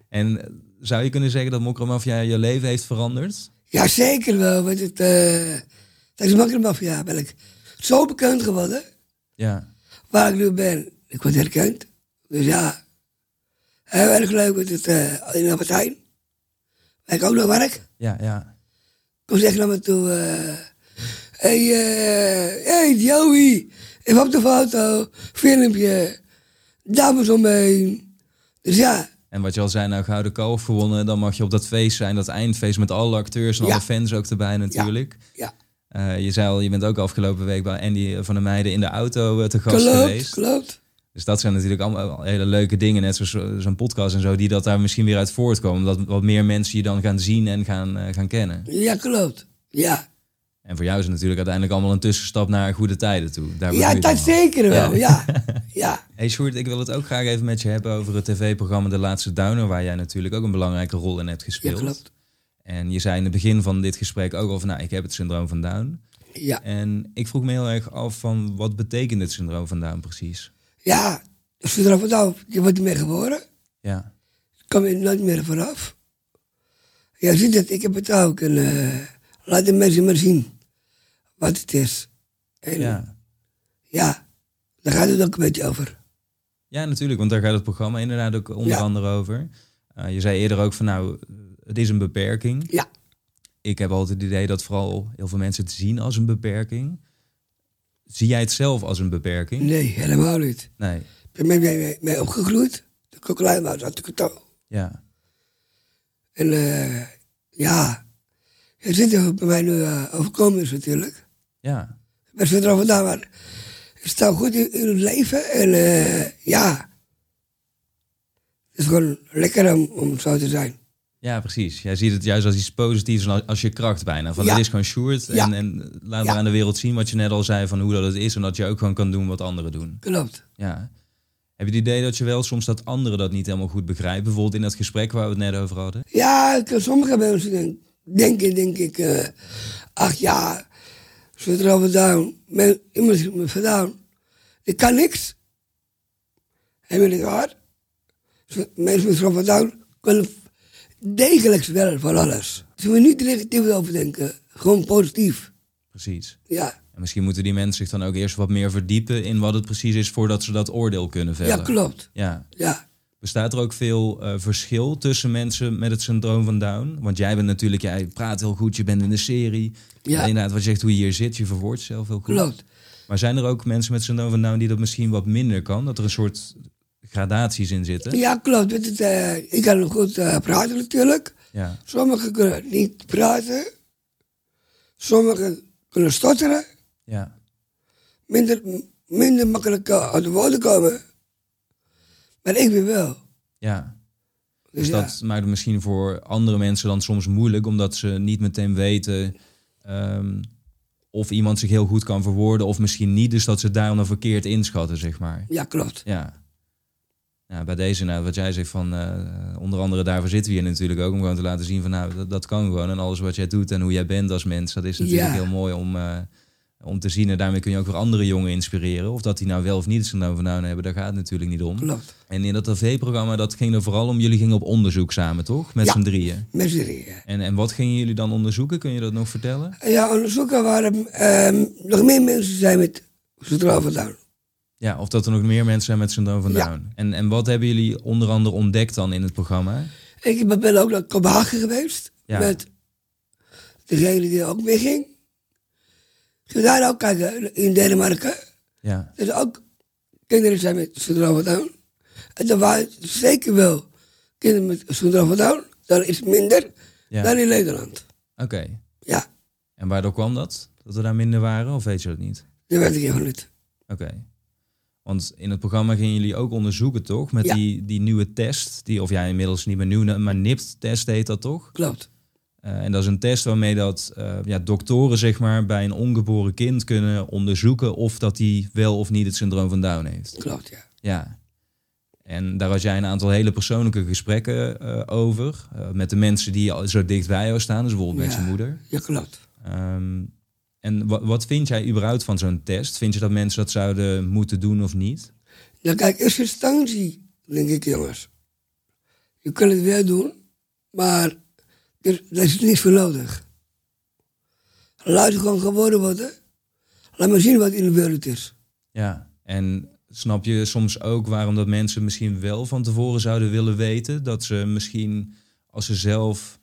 S2: En eh, zou je kunnen zeggen dat Mokromafia je leven heeft veranderd?
S1: ja zeker wel. Want het, eh, dat is makkelijk, maar ja, ben ik zo bekend geworden.
S2: Ja.
S1: waar ik nu ben, ik word herkend. Dus ja, heel erg leuk met het eh, in de partij. Waar ik ook nog werk.
S2: Ja, ja.
S1: Toen zeg ik naar me toe, eh, hey, eh, hey Joey, even op de foto, filmpje, dames omheen. Dus ja,
S2: En wat je al zei, nou Gouden Kalf gewonnen, dan mag je op dat feest zijn, dat eindfeest met alle acteurs en
S1: Ja.
S2: alle fans ook erbij natuurlijk.
S1: ja,
S2: Eh, je zei al, je bent ook afgelopen week bij Andy van der Meijden in de auto eh, te gast
S1: klopt,
S2: geweest.
S1: klopt.
S2: Dus dat zijn natuurlijk allemaal hele leuke dingen, net zoals eh, zo'n podcast en zo, die dat daar misschien weer uit voortkomen. Dat wat meer mensen je dan gaan zien en gaan, eh, gaan kennen.
S1: Ja, klopt. Ja,
S2: En voor jou is het natuurlijk uiteindelijk allemaal een tussenstap naar goede tijden toe. Daar bedoel
S1: ja
S2: je het
S1: dat
S2: allemaal.
S1: zeker wel, ja. ja.
S2: Hey Sjoerd, ik wil het ook graag even met je hebben over het tv-programma De Laatste Downer, waar jij natuurlijk ook een belangrijke rol in hebt gespeeld.
S1: Ja, klopt.
S2: En je zei in het begin van dit gesprek ook al van, nou, ik heb het syndroom van Down.
S1: Ja.
S2: En ik vroeg me heel erg af van, wat betekent het syndroom van Down precies?
S1: Ja, zodra van nou, je wordt ermee geboren.
S2: Ja,
S1: kom je nooit meer vanaf. Ja, ziet het, ik heb het ook. En, eh, laat de mensen maar zien wat het is. En, ja.
S2: ja.
S1: daar gaat het ook een beetje over.
S2: Ja, natuurlijk, want daar gaat het programma inderdaad ook onder
S1: Ja.
S2: andere over. Eh, je zei eerder ook van nou, het is een beperking.
S1: Ja.
S2: Ik heb altijd het idee dat vooral heel veel mensen het zien als een beperking. Zie jij het zelf als een beperking?
S1: Nee, helemaal niet.
S2: Nee.
S1: Ik ben mee, mee, mee, mee opgegroeid. De kokkelijnmaat had ik het al.
S2: Ja.
S1: En eh, ja, het zit er bij mij nu eh, overkomen is natuurlijk.
S2: Ja.
S1: Maar verder al vandaan, maar ik sta goed in, in het leven. En eh, ja, het is gewoon lekker om, om zo te zijn.
S2: Ja, precies. Jij ziet het juist als iets positiefs en als- als je kracht bijna. Van
S1: Ja.
S2: het is gewoon Sjoerd en,
S1: Ja.
S2: en laat
S1: Ja.
S2: maar aan de wereld zien wat je net al zei van hoe dat het is. En dat je ook gewoon kan doen wat anderen doen.
S1: Klopt.
S2: Ja. Heb je het idee dat je wel soms dat anderen dat niet helemaal goed begrijpen? Bijvoorbeeld in dat gesprek waar we het net over hadden.
S1: Ja, ik- sommige mensen denk- denken, denk ik, eh, ach ja, zit er al vandaan, men- iemand zit me vandaan. Ik kan niks. En ben ik hard. Zo- Mensen met van vandaan kunnen degelijk wel van alles. Ze moeten niet negatief over denken, gewoon positief.
S2: Precies.
S1: Ja,
S2: En misschien moeten die mensen zich dan ook eerst wat meer verdiepen in wat het precies is voordat ze dat oordeel kunnen vellen.
S1: ja klopt.
S2: Ja.
S1: Ja.
S2: Bestaat er ook veel eh, verschil tussen mensen met het syndroom van Down? Want jij bent natuurlijk, jij praat heel goed, je bent in de serie.
S1: Ja.
S2: Inderdaad, wat je zegt, hoe je hier zit, je verwoordt zelf heel goed.
S1: Klopt.
S2: Maar zijn er ook mensen met syndroom van Down die dat misschien wat minder kan? Dat er een soort gradaties in zitten?
S1: Ja, klopt. Dit is, eh, ik kan goed eh, praten natuurlijk.
S2: Ja.
S1: Sommigen kunnen niet praten. Sommigen kunnen stotteren.
S2: Ja.
S1: Minder, minder makkelijk eh, uit de woorden komen. Maar ik weer wel.
S2: Ja.
S1: Dus
S2: Dus
S1: ja,
S2: dat maakt het misschien voor andere mensen dan soms moeilijk, omdat ze niet meteen weten ehm, of iemand zich heel goed kan verwoorden of misschien niet. Dus dat ze het daarom dan verkeerd inschatten, zeg maar.
S1: ja, klopt.
S2: Ja. Ja, bij deze, nou, wat jij zegt van, eh, onder andere daarvoor zitten we hier natuurlijk ook om gewoon te laten zien van, nou, dat, dat kan gewoon. En alles wat jij doet en hoe jij bent als mens, dat is natuurlijk
S1: Ja.
S2: heel mooi om, eh, om te zien. En daarmee kun je ook weer andere jongen inspireren. Of dat die nou wel of niet zijn nou van nou hebben, daar gaat het natuurlijk niet om.
S1: Klopt.
S2: En in dat tv-programma, dat ging er vooral om, jullie gingen op onderzoek samen, toch? Met
S1: Ja.
S2: z'n drieën.
S1: Met z'n drieën.
S2: En, en wat gingen jullie dan onderzoeken? Kun je dat nog vertellen?
S1: En Ja, onderzoeken waar ehm, nog meer mensen zijn met syndroom van Down.
S2: Ja, of dat er nog meer mensen zijn met syndroom van
S1: Ja.
S2: Down. En, en wat hebben jullie onder andere ontdekt dan in het programma?
S1: Ik ben- ben ook naar Kopenhagen geweest.
S2: Ja.
S1: Met degene die er ook mee ging. Ik ging daar ook kijken, in Denemarken.
S2: Ja,
S1: Dus ook kinderen zijn met syndroom van Down. En er waren zeker wel kinderen met syndroom van Down. Dat is minder
S2: Ja.
S1: dan in Nederland.
S2: oké.
S1: Ja,
S2: En waardoor kwam dat? Dat er daar minder waren? Of weet je dat niet?
S1: dat weet ik helemaal niet.
S2: Oké. Want in het programma gingen jullie ook onderzoeken, toch? Met
S1: Ja.
S2: die, die nieuwe test. Die, of ja, inmiddels niet meer nieuw, maar NIPT-test heet dat toch?
S1: Klopt.
S2: Eh, en dat is een test waarmee dat, eh, ja, doktoren zeg maar, bij een ongeboren kind kunnen onderzoeken of dat die wel of niet het syndroom van Down heeft.
S1: Klopt, ja.
S2: Ja. En daar had jij een aantal hele persoonlijke gesprekken eh, over. eh, met de mensen die al zo dicht bij jou staan, dus bijvoorbeeld met
S1: Ja.
S2: je moeder.
S1: Ja, klopt.
S2: Ehm, en wa- wat vind jij überhaupt van zo'n test? Vind je dat mensen dat zouden moeten doen of niet?
S1: Nou kijk, eerste instantie, denk ik jongens. Je kunt het wel doen, maar er, er is niets voor nodig. Laat het gewoon geworden worden. Laat maar zien wat in de wereld is.
S2: Ja. En snap je soms ook waarom dat mensen misschien wel van tevoren zouden willen weten? Dat ze misschien, als ze zelf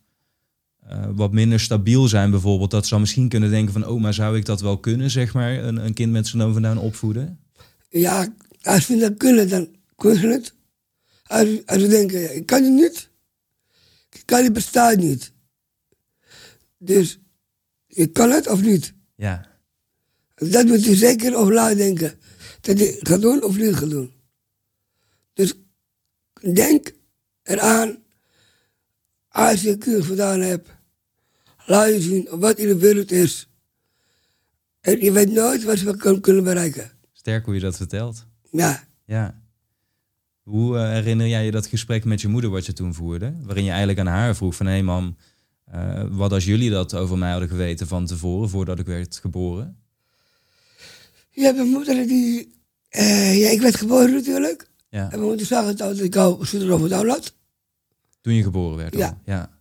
S2: eh, wat minder stabiel zijn bijvoorbeeld... dat ze dan misschien kunnen denken van... oh, maar zou ik dat wel kunnen, zeg maar, een, een kind met syndroom van Down opvoeden?
S1: Ja, als we dat kunnen, dan kunnen ze het. Als, als we denken, ja, ik kan het niet. Ik kan het bestaat niet. Dus, je kan het of niet.
S2: Ja.
S1: Dat moet je zeker over nadenken. Dat je het gaat doen of niet gaat doen. Dus denk eraan, als je kunst gedaan hebt, laat je zien wat in de wereld is. En je weet nooit wat we kan- kunnen bereiken.
S2: Sterk hoe je dat vertelt.
S1: Ja,
S2: Ja. Hoe eh, herinner jij je dat gesprek met je moeder wat je toen voerde? Waarin je eigenlijk aan haar vroeg van... hé hey mam, eh, wat als jullie dat over mij hadden geweten van tevoren... voordat ik werd geboren?
S1: ja mijn moeder die, eh, ja, ik werd geboren natuurlijk.
S2: Ja,
S1: En mijn moeder zag het al dat ik al zoeter over het had.
S2: toen je geboren werd. al.
S1: Ja.
S2: ja.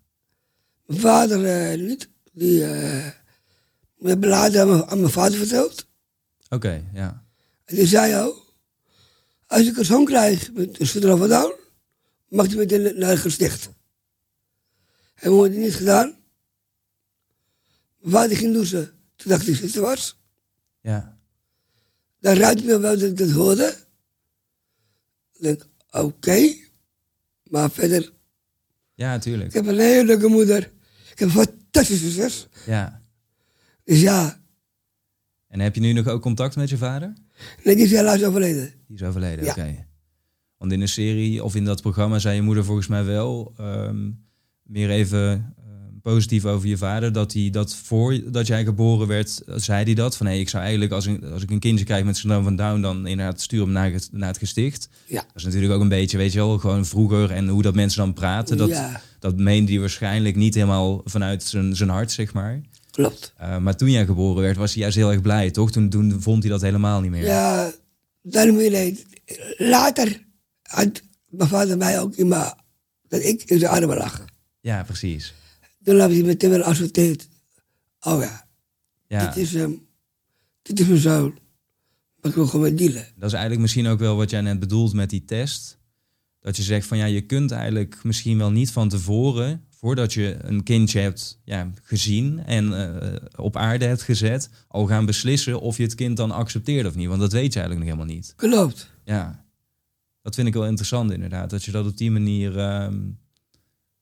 S1: Mijn vader eh, niet, die eh, we hebben later aan mijn- aan mijn vader verteld.
S2: Oké, ja.
S1: En die zei al, Als ik een zoon krijg met een syndroom van Down, mag die meteen naar het gesticht. En we hadden het niet gedaan. Waar die ging douchen, toen dacht ik dat het was.
S2: Ja.
S1: Dan ruikt me wel dat ik dat hoorde. Ik denk, oké. Maar verder,
S2: Ja,
S1: ik
S2: tuurlijk.
S1: heb een hele leuke moeder. Ik heb een fantastische zus.
S2: Ja.
S1: Dus ja,
S2: En heb je nu nog ook contact met je vader?
S1: nee, die is helaas overleden.
S2: Die is overleden,
S1: Ja.
S2: oké. Want in de serie of in dat programma zei je moeder volgens mij wel ehm, meer even ehm, positief over je vader. Dat hij dat voordat jij geboren werd, eh, zei hij dat. Van hé, ik zou eigenlijk als, een, als ik een kindje krijg met syndroom van Down, dan inderdaad sturen hem naar het, naar het gesticht.
S1: Ja.
S2: Dat is natuurlijk ook een beetje, weet je wel, gewoon vroeger en hoe dat mensen dan praten. Dat,
S1: Ja.
S2: dat meende hij waarschijnlijk niet helemaal vanuit zijn, zijn hart, zeg maar.
S1: Klopt.
S2: Eh, maar toen jij geboren werd, was hij juist heel erg blij, toch? Toen, toen vond hij dat helemaal niet meer.
S1: Ja, dan moet je nee. Later had mijn vader mij ook in mijn, dat ik in zijn armen lag.
S2: Ja, precies.
S1: Toen hebben ze meteen wel assorteerd. Oh ja,
S2: Ja.
S1: dit is hem. Dit is mijn zoon. Maar ik wil gewoon met dealen.
S2: Dat is eigenlijk misschien ook wel wat jij net bedoelt met die test. Dat je zegt van ja, je kunt eigenlijk misschien wel niet van tevoren, voordat je een kindje hebt ja, gezien en eh, op aarde hebt gezet, al gaan beslissen of je het kind dan accepteert of niet. Want dat weet je eigenlijk nog helemaal niet.
S1: Klopt.
S2: Ja, dat vind ik wel interessant inderdaad. Dat je dat op die manier, ehm,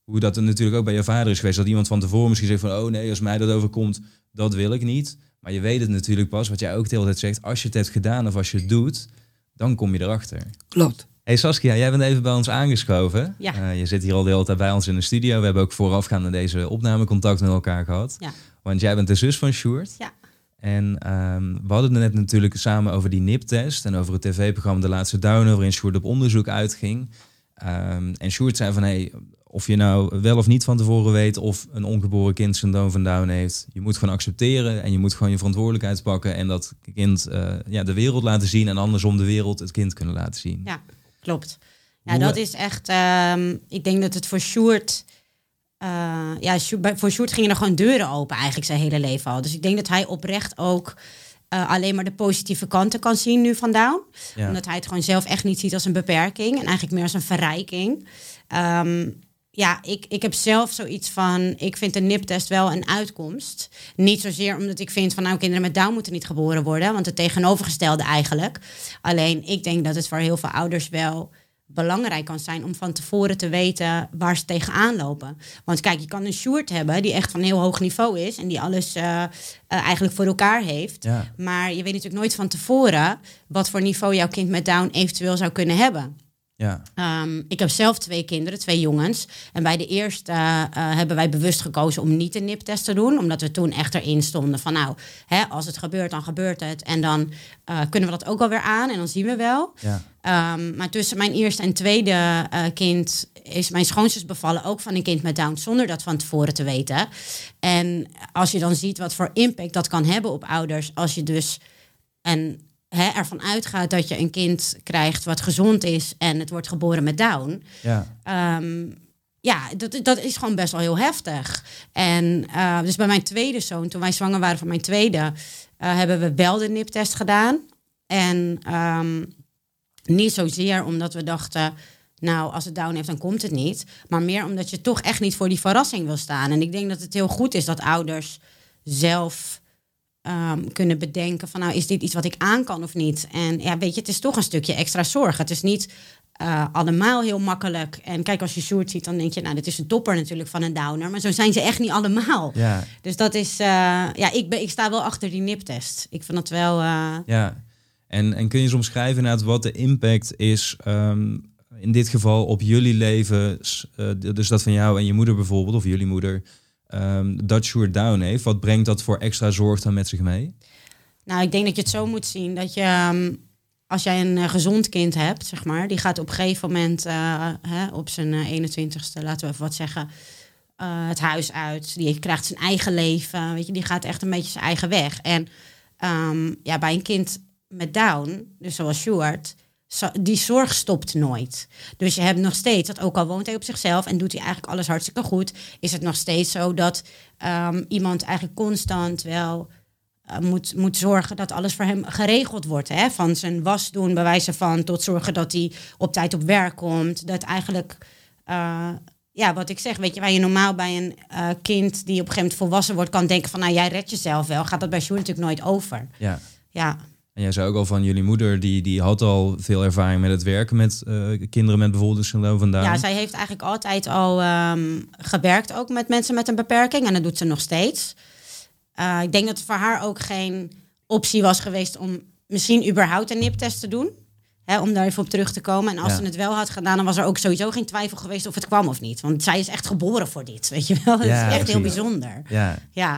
S2: hoe dat er natuurlijk ook bij je vader is geweest, dat iemand van tevoren misschien zegt van oh nee, als mij dat overkomt, dat wil ik niet. Maar je weet het natuurlijk pas, wat jij ook de hele tijd zegt, als je het hebt gedaan of als je het doet, dan kom je erachter.
S1: Klopt.
S2: Hey Saskia, jij bent even bij ons aangeschoven.
S3: Ja.
S2: Eh, je zit hier al de hele tijd bij ons in de studio. We hebben ook voorafgaand aan deze opname contact met elkaar gehad.
S3: Ja.
S2: Want jij bent de zus van Sjoerd.
S3: Ja.
S2: En ehm, we hadden het net natuurlijk samen over die NIP-test en over het tv-programma De Laatste Duinen, waarin Sjoerd op onderzoek uitging. Ehm, en Sjoerd zei van, hey, of je nou wel of niet van tevoren weet of een ongeboren kind syndroom van Down heeft, je moet gewoon accepteren en je moet gewoon je verantwoordelijkheid pakken en dat kind eh, ja, de wereld laten zien en andersom de wereld het kind kunnen laten zien.
S3: Ja, klopt. Ja,
S2: Hoe-
S3: dat is echt. ehm, ik denk dat het voor Sjoerd. eh, ja, Sjo- bij- voor Sjoerd gingen er gewoon deuren open eigenlijk zijn hele leven al. Dus ik denk dat hij oprecht ook eh, alleen maar de positieve kanten kan zien nu van Down.
S2: Ja.
S3: Omdat hij het gewoon zelf echt niet ziet als een beperking. En eigenlijk meer als een verrijking. Ehm, ja, ik, ik heb zelf zoiets van... Ik vind de niptest wel een uitkomst. Niet zozeer omdat ik vind van... Nou, kinderen met Down moeten niet geboren worden. Want het tegenovergestelde eigenlijk. Alleen, ik denk dat het voor heel veel ouders wel belangrijk kan zijn om van tevoren te weten waar ze tegenaan lopen. Want kijk, je kan een Sjoerd hebben die echt van heel hoog niveau is... en die alles eh, eh, eigenlijk voor elkaar heeft.
S2: Ja.
S3: Maar je weet natuurlijk nooit van tevoren wat voor niveau jouw kind met Down eventueel zou kunnen hebben.
S2: Ja,
S3: Ehm, ik heb zelf twee kinderen, twee jongens. En bij de eerste eh, eh, hebben wij bewust gekozen om niet een niptest te doen. Omdat we toen echt erin stonden van nou, hè, als het gebeurt, dan gebeurt het. En dan eh, kunnen we dat ook alweer aan en dan zien we wel.
S2: ja,
S3: Ehm, maar tussen mijn eerste en tweede eh, kind is mijn schoonzus bevallen ook van een kind met Down zonder dat van tevoren te weten. En als je dan ziet wat voor impact dat kan hebben op ouders, als je dus en, hè, ervan uitgaat dat je een kind krijgt wat gezond is en het wordt geboren met Down.
S2: ja,
S3: Ehm, ja, dat, dat is gewoon best wel heel heftig. En eh, dus bij mijn tweede zoon, toen wij zwanger waren van mijn tweede, eh, hebben we wel de niptest gedaan. En ehm, niet zozeer omdat we dachten, nou, als het down heeft, dan komt het niet. Maar meer omdat je toch echt niet voor die verrassing wil staan. En ik denk dat het heel goed is dat ouders zelf ehm, kunnen bedenken van, nou, is dit iets wat ik aan kan of niet? En ja, weet je, het is toch een stukje extra zorg. Het is niet eh, allemaal heel makkelijk. En kijk, als je Sjoerd ziet, dan denk je, nou, dit is een topper natuurlijk van een downer. Maar zo zijn ze echt niet allemaal.
S2: ja.
S3: Dus dat is, eh, ja, ik, ben, ik sta wel achter die niptest. Ik vind dat wel, eh,
S2: Ja, en, en kun je eens omschrijven inderdaad wat de impact is ehm, in dit geval op jullie leven, s- eh, d- dus dat van jou en je moeder bijvoorbeeld, of jullie moeder, ehm, dat Sjoerd Down heeft. Wat brengt dat voor extra zorg dan met zich mee?
S3: Nou, ik denk dat je het zo moet zien dat je. ehm, als jij een eh, gezond kind hebt, zeg maar, die gaat op een gegeven moment eh, hè, op zijn eh, 21ste, laten we even wat zeggen, eh, het huis uit. Die krijgt zijn eigen leven, weet je, die gaat echt een beetje zijn eigen weg. En ehm, ja, bij een kind met Down, dus zoals Sjoerd, zo- die zorg stopt nooit. Dus je hebt nog steeds, dat ook al woont hij op zichzelf en doet hij eigenlijk alles hartstikke goed, is het nog steeds zo dat ehm, iemand eigenlijk constant wel eh, moet, moet zorgen dat alles voor hem geregeld wordt. Hè? Van zijn was doen, bij wijze van, tot zorgen dat hij op tijd op werk komt. Dat eigenlijk, eh, ja, wat ik zeg, weet je, waar je normaal bij een eh, kind die op een gegeven moment volwassen wordt, kan denken van, nou, jij redt jezelf wel, gaat dat bij Sjoerd natuurlijk nooit over.
S2: Ja.
S3: Ja,
S2: En jij zei ook al van jullie moeder, die, die had al veel ervaring met het werken met eh, kinderen met bijvoorbeeld een syndroom van Down.
S3: ja zij heeft eigenlijk altijd al ehm, gewerkt ook met mensen met een beperking en dat doet ze nog steeds. Eh, ik denk dat het voor haar ook geen optie was geweest om misschien überhaupt een niptest te doen. Hè, om daar even op terug te komen. En als
S2: Ja.
S3: ze het wel had gedaan, dan was er ook sowieso geen twijfel geweest of het kwam of niet. Want zij is echt geboren voor dit, weet je wel. Dat
S2: Ja,
S3: is echt heel
S2: precies.
S3: bijzonder.
S2: ja.
S3: Ja.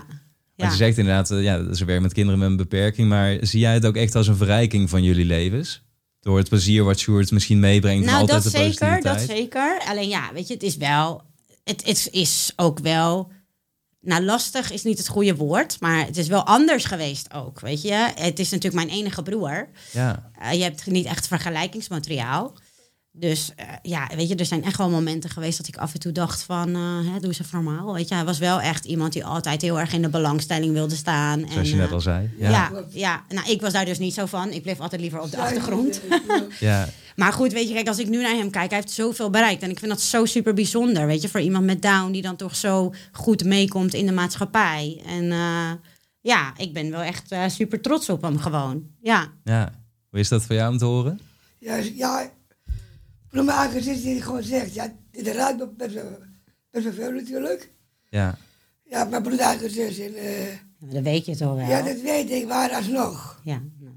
S2: Want
S3: ja.
S2: je zegt inderdaad, eh, ja, ze werkt met kinderen met een beperking. Maar zie jij het ook echt als een verrijking van jullie levens? Door het plezier wat Sjoerd misschien meebrengt. en
S3: Nou,
S2: altijd
S3: dat
S2: de
S3: zeker, dat
S2: positiviteit.
S3: zeker. Alleen ja, weet je, het is wel... Het, het is ook wel... Nou, lastig is niet het goede woord, maar het is wel anders geweest ook, weet je. Het is natuurlijk mijn enige broer.
S2: Ja,
S3: Eh, je hebt niet echt vergelijkingsmateriaal. Dus eh, ja, weet je, er zijn echt wel momenten geweest dat ik af en toe dacht van, eh, hè, doe ze normaal. Weet je, hij was wel echt iemand die altijd heel erg in de belangstelling wilde staan. en,
S2: zoals je net
S3: eh,
S2: al zei.
S3: ja.
S2: ja.
S3: ja, nou, ik was daar dus niet zo van. Ik bleef altijd liever op de achtergrond.
S2: ja.
S3: Maar goed, weet je, kijk, als ik nu naar hem kijk, hij heeft zoveel bereikt. En ik vind dat zo super bijzonder, weet je, voor iemand met Down die dan toch zo goed meekomt in de maatschappij. En eh, ja, ik ben wel echt eh, super trots op hem gewoon. Ja.
S2: Ja. Hoe is dat voor jou om te horen?
S1: Ja, ja voor mijn aangezicht die ik gewoon zegt, ja, dit raakt me best wel, best wel veel natuurlijk.
S2: Ja.
S1: Ja, mijn broer aangezicht en eh,
S3: Dat weet je toch wel?
S1: ja, dat weet ik, maar alsnog.
S3: Ja, nou,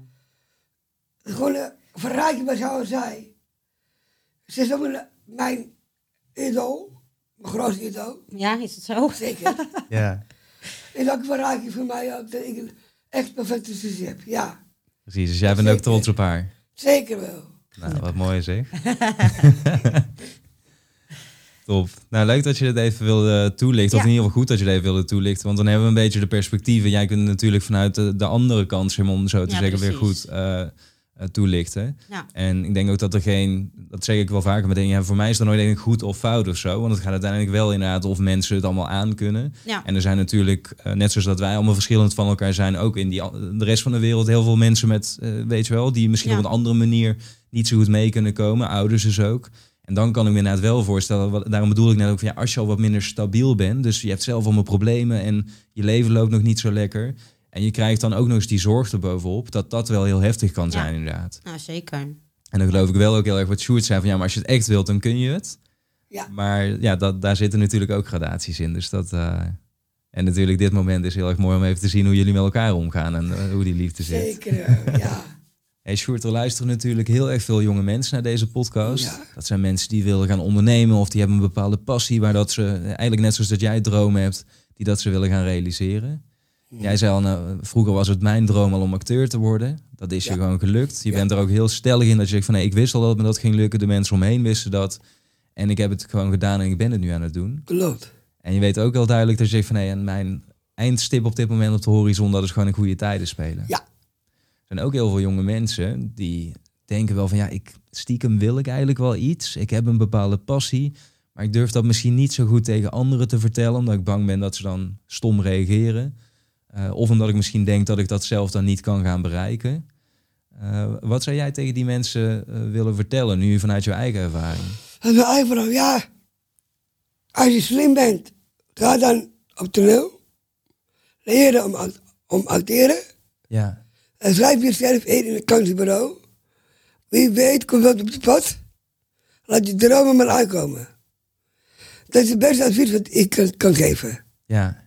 S1: Gewoon een verrijking wat zou zij. Ze is ook mijn- mijn idool, mijn grootste idool,
S3: ja is het zo?
S1: zeker.
S2: Ja.
S1: is ook een verrijking voor mij ook, dat ik een echt perfecte zus heb, ja.
S2: Precies, dus jij bent ook
S1: Zeker.
S2: trots op haar.
S1: Zeker wel.
S2: Nou, wat mooi zeg. Top. Nou, leuk dat je dit even wilde toelichten. Of
S3: Ja.
S2: in ieder geval goed dat je dit even wilde toelichten. Want dan hebben we een beetje de perspectieven. Jij kunt het natuurlijk vanuit de, de andere kant, zeg maar, om zo te
S3: Ja,
S2: zeggen, weer
S3: precies.
S2: goed eh, eh, toelichten.
S3: Ja.
S2: En ik denk ook dat er geen, dat zeg ik wel vaker meteen, ja, voor mij is er nooit één goed of fout of zo. Want het gaat uiteindelijk wel inderdaad of mensen het allemaal aankunnen.
S3: Ja.
S2: En er zijn natuurlijk, eh, net zoals dat wij allemaal verschillend van elkaar zijn, ook in die, an- de rest van de wereld heel veel mensen met, eh, weet je wel, die misschien
S3: Ja.
S2: op een andere manier niet zo goed mee kunnen komen. Ouders dus ook. En dan kan ik me inderdaad wel voorstellen, wat, daarom bedoel ik net ook van ja, als je al wat minder stabiel bent, dus je hebt zelf allemaal problemen en je leven loopt nog niet zo lekker. En je krijgt dan ook nog eens die zorg erbovenop, dat dat wel heel heftig kan zijn inderdaad.
S3: Nou, zeker.
S2: En dan geloof ik wel ook heel erg wat Sjoerd zei van ja, maar als je het echt wilt, dan kun je het.
S1: Ja.
S2: Maar ja, dat, daar zitten natuurlijk ook gradaties in. Dus dat. eh, en natuurlijk, dit moment is heel erg mooi om even te zien hoe jullie met elkaar omgaan en eh, hoe die liefde zit.
S1: Zeker wel, ja.
S2: Hey Sjoerd, er luisteren natuurlijk heel erg veel jonge mensen naar deze podcast.
S1: Ja.
S2: Dat zijn mensen die willen gaan ondernemen of die hebben een bepaalde passie waar dat ze, eigenlijk net zoals dat jij dromen hebt, die dat ze willen gaan realiseren. Jij zei al, nou, vroeger was het mijn droom al om acteur te worden. Dat is je
S1: Ja.
S2: gewoon gelukt. Je bent er ook heel stellig in dat je zegt van nee, ik wist al dat me dat ging lukken. De mensen omheen wisten dat. En ik heb het gewoon gedaan en ik ben het nu aan het doen.
S1: Klopt.
S2: En je weet ook heel duidelijk dat je zegt van nee, en mijn eindstip op dit moment op de horizon, dat is gewoon een goede tijden spelen.
S1: Ja.
S2: Er zijn ook heel veel jonge mensen die denken wel van ja, ik stiekem wil ik eigenlijk wel iets. Ik heb een bepaalde passie. Maar ik durf dat misschien niet zo goed tegen anderen te vertellen, omdat ik bang ben dat ze dan stom reageren. Eh, of omdat ik misschien denk dat ik dat zelf dan niet kan gaan bereiken. Eh, wat zou jij tegen die mensen eh, willen vertellen, nu vanuit jouw eigen ervaring?
S1: Dat is mijn eigen vrouw. Ja, als je slim bent, ga dan op toneel. Leren om, act- om acteren.
S2: Ja,
S1: En schrijf jezelf in in het kansenbureau. Wie weet komt dat op je pad. Laat je dromen maar aankomen. Dat is het beste advies wat ik kan, kan geven.
S2: ja.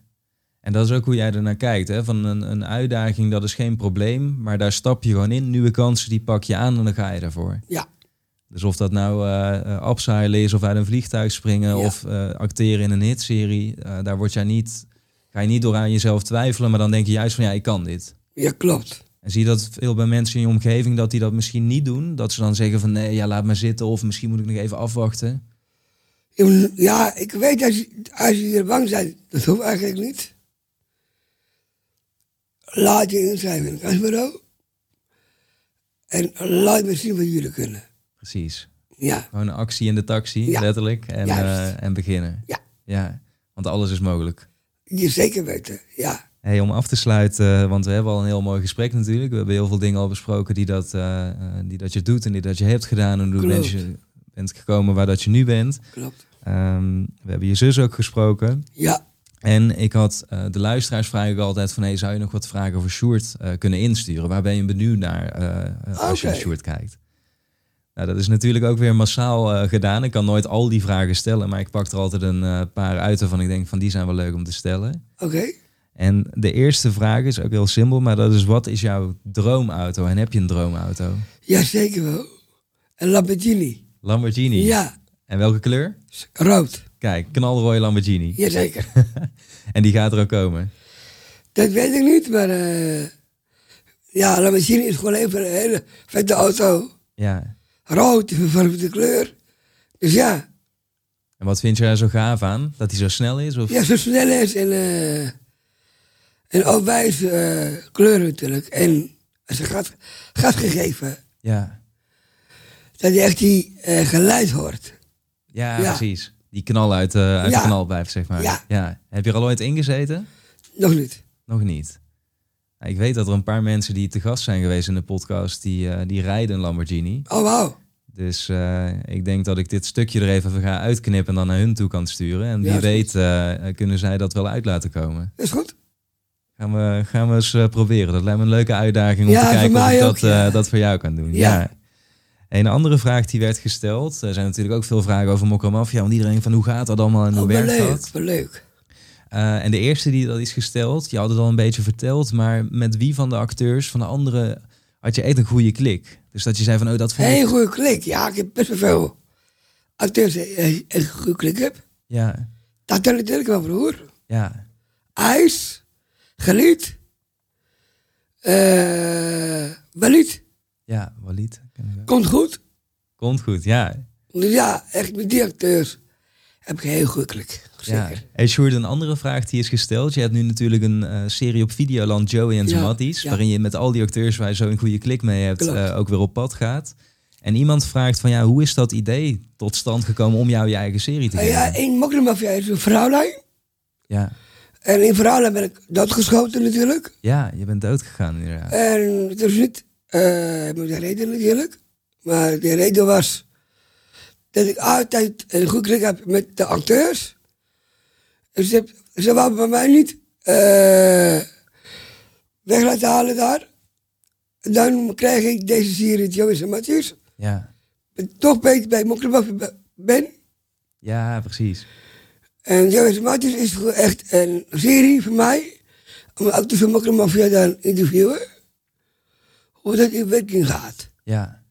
S2: En dat is ook hoe jij ernaar kijkt. Hè? Van een, een uitdaging, dat is geen probleem. Maar daar stap je gewoon in. Nieuwe kansen, die pak je aan en dan ga je daarvoor.
S1: Ja,
S2: Dus of dat nou eh eh, abseilen is of uit een vliegtuig springen
S1: Ja.
S2: of eh, acteren in een hitserie, eh, daar word jij niet, ga je niet door aan jezelf twijfelen, maar dan denk je juist van ja, ik kan dit.
S1: ja klopt.
S2: En zie je dat veel bij mensen in je omgeving dat die dat misschien niet doen, dat ze dan zeggen van nee, ja, laat maar zitten of misschien moet ik nog even afwachten.
S1: Je moet- Ja, ik weet als, je- als je er bang bent, dat hoeft eigenlijk niet. Laat je inschrijven in het kansbureau. En laat me zien wat jullie kunnen.
S2: Precies.
S1: Ja,
S2: Gewoon een actie in de taxi,
S1: Ja.
S2: letterlijk, en,
S1: Juist.
S2: eh, en beginnen.
S1: Ja.
S2: ja, want alles is mogelijk.
S1: je zeker weten. Ja,
S2: Hey, om af te sluiten, eh, want we hebben al een heel mooi gesprek natuurlijk. We hebben heel veel dingen al besproken die dat, eh, eh, die dat je doet en die dat je hebt gedaan. En hoe
S1: Klopt.
S2: bent je bent gekomen waar dat je nu bent.
S1: Klopt.
S2: Ehm, we hebben je zus ook gesproken.
S1: Ja,
S2: En ik had eh, de luisteraars vraag ik altijd van... Hey, zou je nog wat vragen voor Sjoerd eh, kunnen insturen? Waar ben je benieuwd naar eh, eh, als
S1: Oké.
S2: je naar Sjoerd kijkt? Nou, dat is natuurlijk ook weer massaal eh, gedaan. Ik kan nooit al die vragen stellen, maar ik pak er altijd een eh, paar uit... waarvan ik denk van die zijn wel leuk om te stellen.
S1: oké.
S2: En de eerste vraag is ook heel simpel, maar dat is... wat is jouw droomauto en heb je een droomauto?
S1: Ja, zeker wel. Een Lamborghini.
S2: Lamborghini.
S1: Ja,
S2: En welke kleur?
S1: rood.
S2: Kijk, knalrooie Lamborghini.
S1: Jazeker.
S2: En die gaat er ook komen.
S1: Dat weet ik niet, maar... eh ja, Lamborghini is gewoon even een hele vette auto.
S2: Ja.
S1: Rood, vervangende kleur. Dus ja,
S2: En wat vind je daar zo gaaf aan? Dat hij zo snel is? Of...
S1: ja zo snel is en... eh en ook wijs eh, kleuren natuurlijk. En als je gaat, gaat gegeven,
S2: ja.
S1: dat je echt die eh geluid hoort.
S2: Ja,
S1: Ja.
S2: precies. Die knal uit, eh, uit
S1: Ja.
S2: de knalpijp, zeg maar.
S1: Ja.
S2: Heb je er al ooit ingezeten?
S1: Nog niet.
S2: Nog niet. Nou, ik weet dat er een paar mensen die te gast zijn geweest in de podcast, die, eh, die rijden een Lamborghini.
S1: Oh, wauw.
S2: Dus eh, ik denk dat ik dit stukje er even van ga uitknippen en dan naar hun toe kan sturen. En wie
S1: Ja, is
S2: weet eh, kunnen zij dat wel uit laten komen.
S1: Dat is goed.
S2: Gaan we, gaan we eens eh, proberen. Dat lijkt me een leuke uitdaging om
S1: Ja,
S2: te
S1: voor
S2: kijken of
S1: mij
S2: ik
S1: ook,
S2: dat, eh,
S1: ja.
S2: dat voor jou kan doen. Ja.
S1: Ja.
S2: Een andere vraag die werd gesteld. Er zijn natuurlijk ook veel vragen over Mokromafia. Want iedereen van hoe gaat dat allemaal en hoe
S1: Oh, wel
S2: werkt dat?
S1: leuk, wel leuk.
S2: Eh, en de eerste die dat is gesteld, je had het al een beetje verteld, maar met wie van de acteurs, van de anderen, had je echt een goede klik? Dus dat je zei van, oh, dat vond ik...
S1: Heel goede klik. Ja, ik heb best wel veel acteurs die eh, een goede klik heb.
S2: Ja,
S1: Dat tel natuurlijk wel broer.
S2: ja,
S1: IJs, Gelied, eh Walid,
S2: ja, Walid.
S1: komt goed.
S2: Komt goed, ja.
S1: Dus ja, echt met die acteurs heb ik een heel goede klik.
S2: ja.
S1: Zeker.
S2: Hey Sjoerd, een andere vraag die is gesteld. Je hebt nu natuurlijk een eh, serie op Videoland, Joey en
S1: Ja,
S2: Zamatties,
S1: ja.
S2: waarin je met al die acteurs waar je zo een goede klik mee hebt,
S1: Klopt.
S2: eh, ook weer op pad gaat. En iemand vraagt van, ja, hoe is dat idee tot stand gekomen om jou je eigen serie te
S1: Ja,
S2: geven?
S1: Oh Nou ja één mokkermafia is een vrouwlijn.
S2: ja.
S1: En in vrouwlijn ben ik doodgeschoten natuurlijk.
S2: Ja, je bent doodgegaan inderdaad.
S1: En het is niet eh, met de reden natuurlijk. Maar de reden was dat ik altijd een goed klik heb met de acteurs. En ze, ze waren bij mij niet eh, weg laten halen daar. En dan krijg ik deze serie, Joyce en Matthews.
S2: Ja.
S1: En toch beter bij Mokkerbaf ben.
S2: Ja, precies.
S1: En Joyce en Matthews is gewoon echt een serie voor mij. Om ook te van Mafia dan interviewen. Hoe dat in werking gaat.
S2: Ja,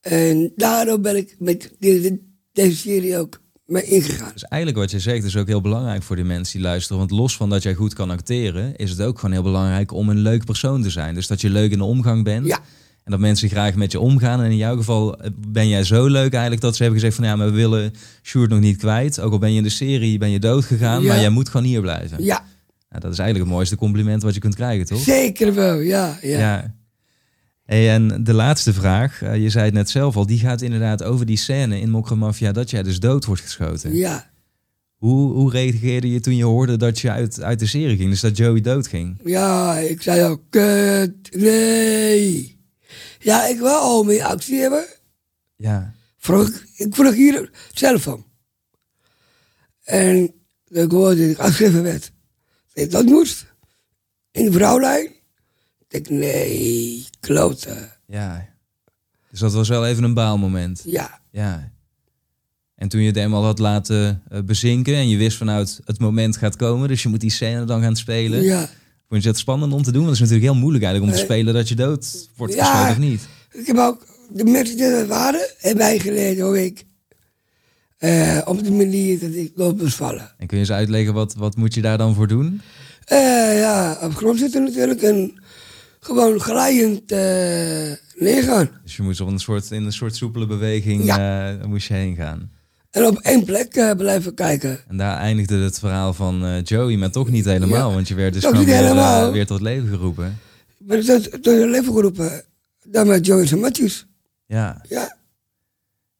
S1: En daarom ben ik met deze, deze serie ook mee ingegaan.
S2: dus eigenlijk wat je zegt is ook heel belangrijk voor de mensen die luisteren. Want los van dat jij goed kan acteren, is het ook gewoon heel belangrijk om een leuk persoon te zijn. Dus dat je leuk in de omgang bent.
S1: Ja.
S2: En dat mensen graag met je omgaan. En in jouw geval eh, ben jij zo leuk eigenlijk dat ze hebben gezegd van ja, maar we willen Sjoerd nog niet kwijt. Ook al ben je in de serie, ben je dood gegaan,
S1: Ja.
S2: maar jij moet gewoon hier blijven.
S1: Ja,
S2: Nou, dat is eigenlijk het mooiste compliment wat je kunt krijgen, toch?
S1: zeker wel. Ja, ja.
S2: Ja. Hey, en de laatste vraag, eh, je zei het net zelf al, die gaat inderdaad over die scène in Mokra Mafia dat jij dus dood wordt geschoten.
S1: ja.
S2: Hoe, hoe reageerde je toen je hoorde dat je uit, uit de serie ging, dus dat Joey dood ging?
S1: Ja, ik zei al, kut, nee. Ja, ik wil al meer actie hebben.
S2: Ja,
S1: Vroeg, ik- ik vroeg hier zelf om. En ik hoorde dat ik afgeschreven werd. Dat ik dat moest. In de vrouwlijn. Ik denk, nee, klote.
S2: ja. Dus dat was wel even een baalmoment.
S1: Ja,
S2: Ja. En toen je het eenmaal had laten eh, bezinken en je wist vanuit het moment gaat komen, dus je moet die scène dan gaan spelen.
S1: ja.
S2: Vond je dat spannend om te doen? Want het is natuurlijk heel moeilijk eigenlijk om te
S1: Eh,
S2: spelen dat je dood wordt
S1: ja.
S2: geschoten of niet.
S1: Ik heb ook de mensen die er waren, hebben mij geleerd hoe ik eh, op de manier dat ik loop moest vallen.
S2: En kun je eens uitleggen wat, wat moet je daar dan voor doen?
S1: Eh, ja, op grond zitten natuurlijk en gewoon glijend eh, neergaan.
S2: Dus je moest op een soort, in een soort soepele beweging eh, moest je heen gaan.
S1: En op één plek eh, blijven kijken.
S2: En daar eindigde het verhaal van eh, Joey, maar toch niet helemaal.
S1: Ja.
S2: Want je werd dus
S1: Toch
S2: gewoon
S1: niet
S2: weer, eh,
S1: helemaal.
S2: weer tot leven geroepen.
S1: Maar ik ben tot, tot een leven geroepen. Dan met Joyce en Matthews.
S2: Ja,
S1: Ja,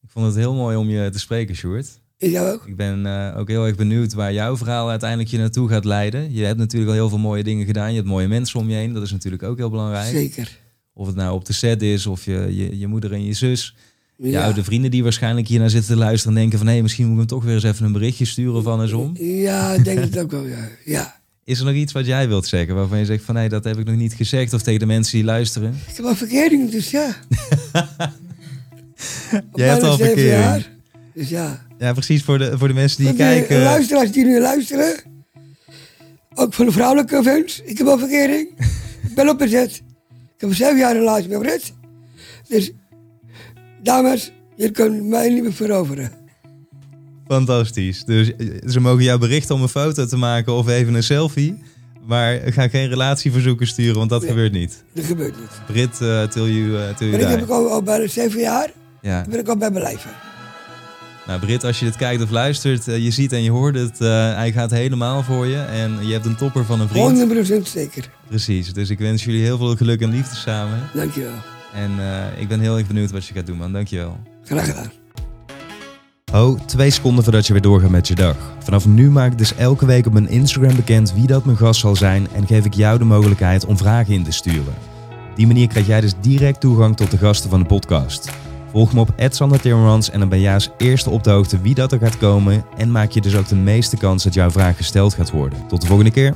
S2: ik vond het heel mooi om je te spreken, Sjoerd.
S1: Is jou ook?
S2: Ik ben eh, ook heel erg benieuwd waar jouw verhaal uiteindelijk je naartoe gaat leiden. Je hebt natuurlijk al heel veel mooie dingen gedaan. Je hebt mooie mensen om je heen. Dat is natuurlijk ook heel belangrijk.
S1: Zeker.
S2: Of het nou op de set is, of je, je, je moeder en je zus. Je
S1: Ja.
S2: oude vrienden die waarschijnlijk hiernaar zitten te luisteren en denken van... hé, misschien moet ik hem toch weer eens even een berichtje sturen van eens om.
S1: Ja, ik denk het ook wel. Ja. ja.
S2: Is er nog iets wat jij wilt zeggen waarvan je zegt van... hé, dat heb ik nog niet gezegd of tegen de mensen die luisteren?
S1: Ik heb al verkering, dus ja. Op
S2: Jij hebt
S1: mijn
S2: al
S1: zeven
S2: verkering.
S1: jaar. Dus ja.
S2: Ja, precies voor de, voor de mensen die
S1: Voor de
S2: kijken.
S1: luisteraars die nu luisteren. Ook voor de vrouwelijke fans. Ik heb al verkering. ik ben opgezet. Ik heb zeven jaar een relatie met Brett. Dus, dames, je kunt mij niet meer veroveren.
S2: Fantastisch. Dus eh, ze mogen jou berichten om een foto te maken of even een selfie. Maar ga geen relatieverzoeken sturen, want dat
S1: Nee.
S2: gebeurt niet.
S1: Dat gebeurt niet.
S2: Brit, eh till you, eh, till you
S1: Maar
S2: die.
S1: ik heb ik al, al bij de zeven jaar.
S2: Ja.
S1: ben ik al bij mijn lijven.
S2: Nou, Brit, als je dit kijkt of luistert, eh, je ziet en je hoort het. eh, hij gaat helemaal voor je. En je hebt een topper van een vriend.
S1: 100% zeker.
S2: Precies. Dus ik wens jullie heel veel geluk en liefde samen.
S1: Dankjewel.
S2: En eh, ik ben heel erg benieuwd wat je gaat doen, man. Dankjewel.
S1: Graag gedaan.
S2: Ho, Oh, twee seconden voordat je weer doorgaat met je dag. Vanaf nu maak ik dus elke week op mijn Instagram bekend wie dat mijn gast zal zijn en geef ik jou de mogelijkheid om vragen in te sturen. Op die manier krijg jij dus direct toegang tot de gasten van de podcast. Volg me op @sandertimmermans en dan ben jij als eerste op de hoogte wie dat er gaat komen en maak je dus ook de meeste kans dat jouw vraag gesteld gaat worden. Tot de volgende keer.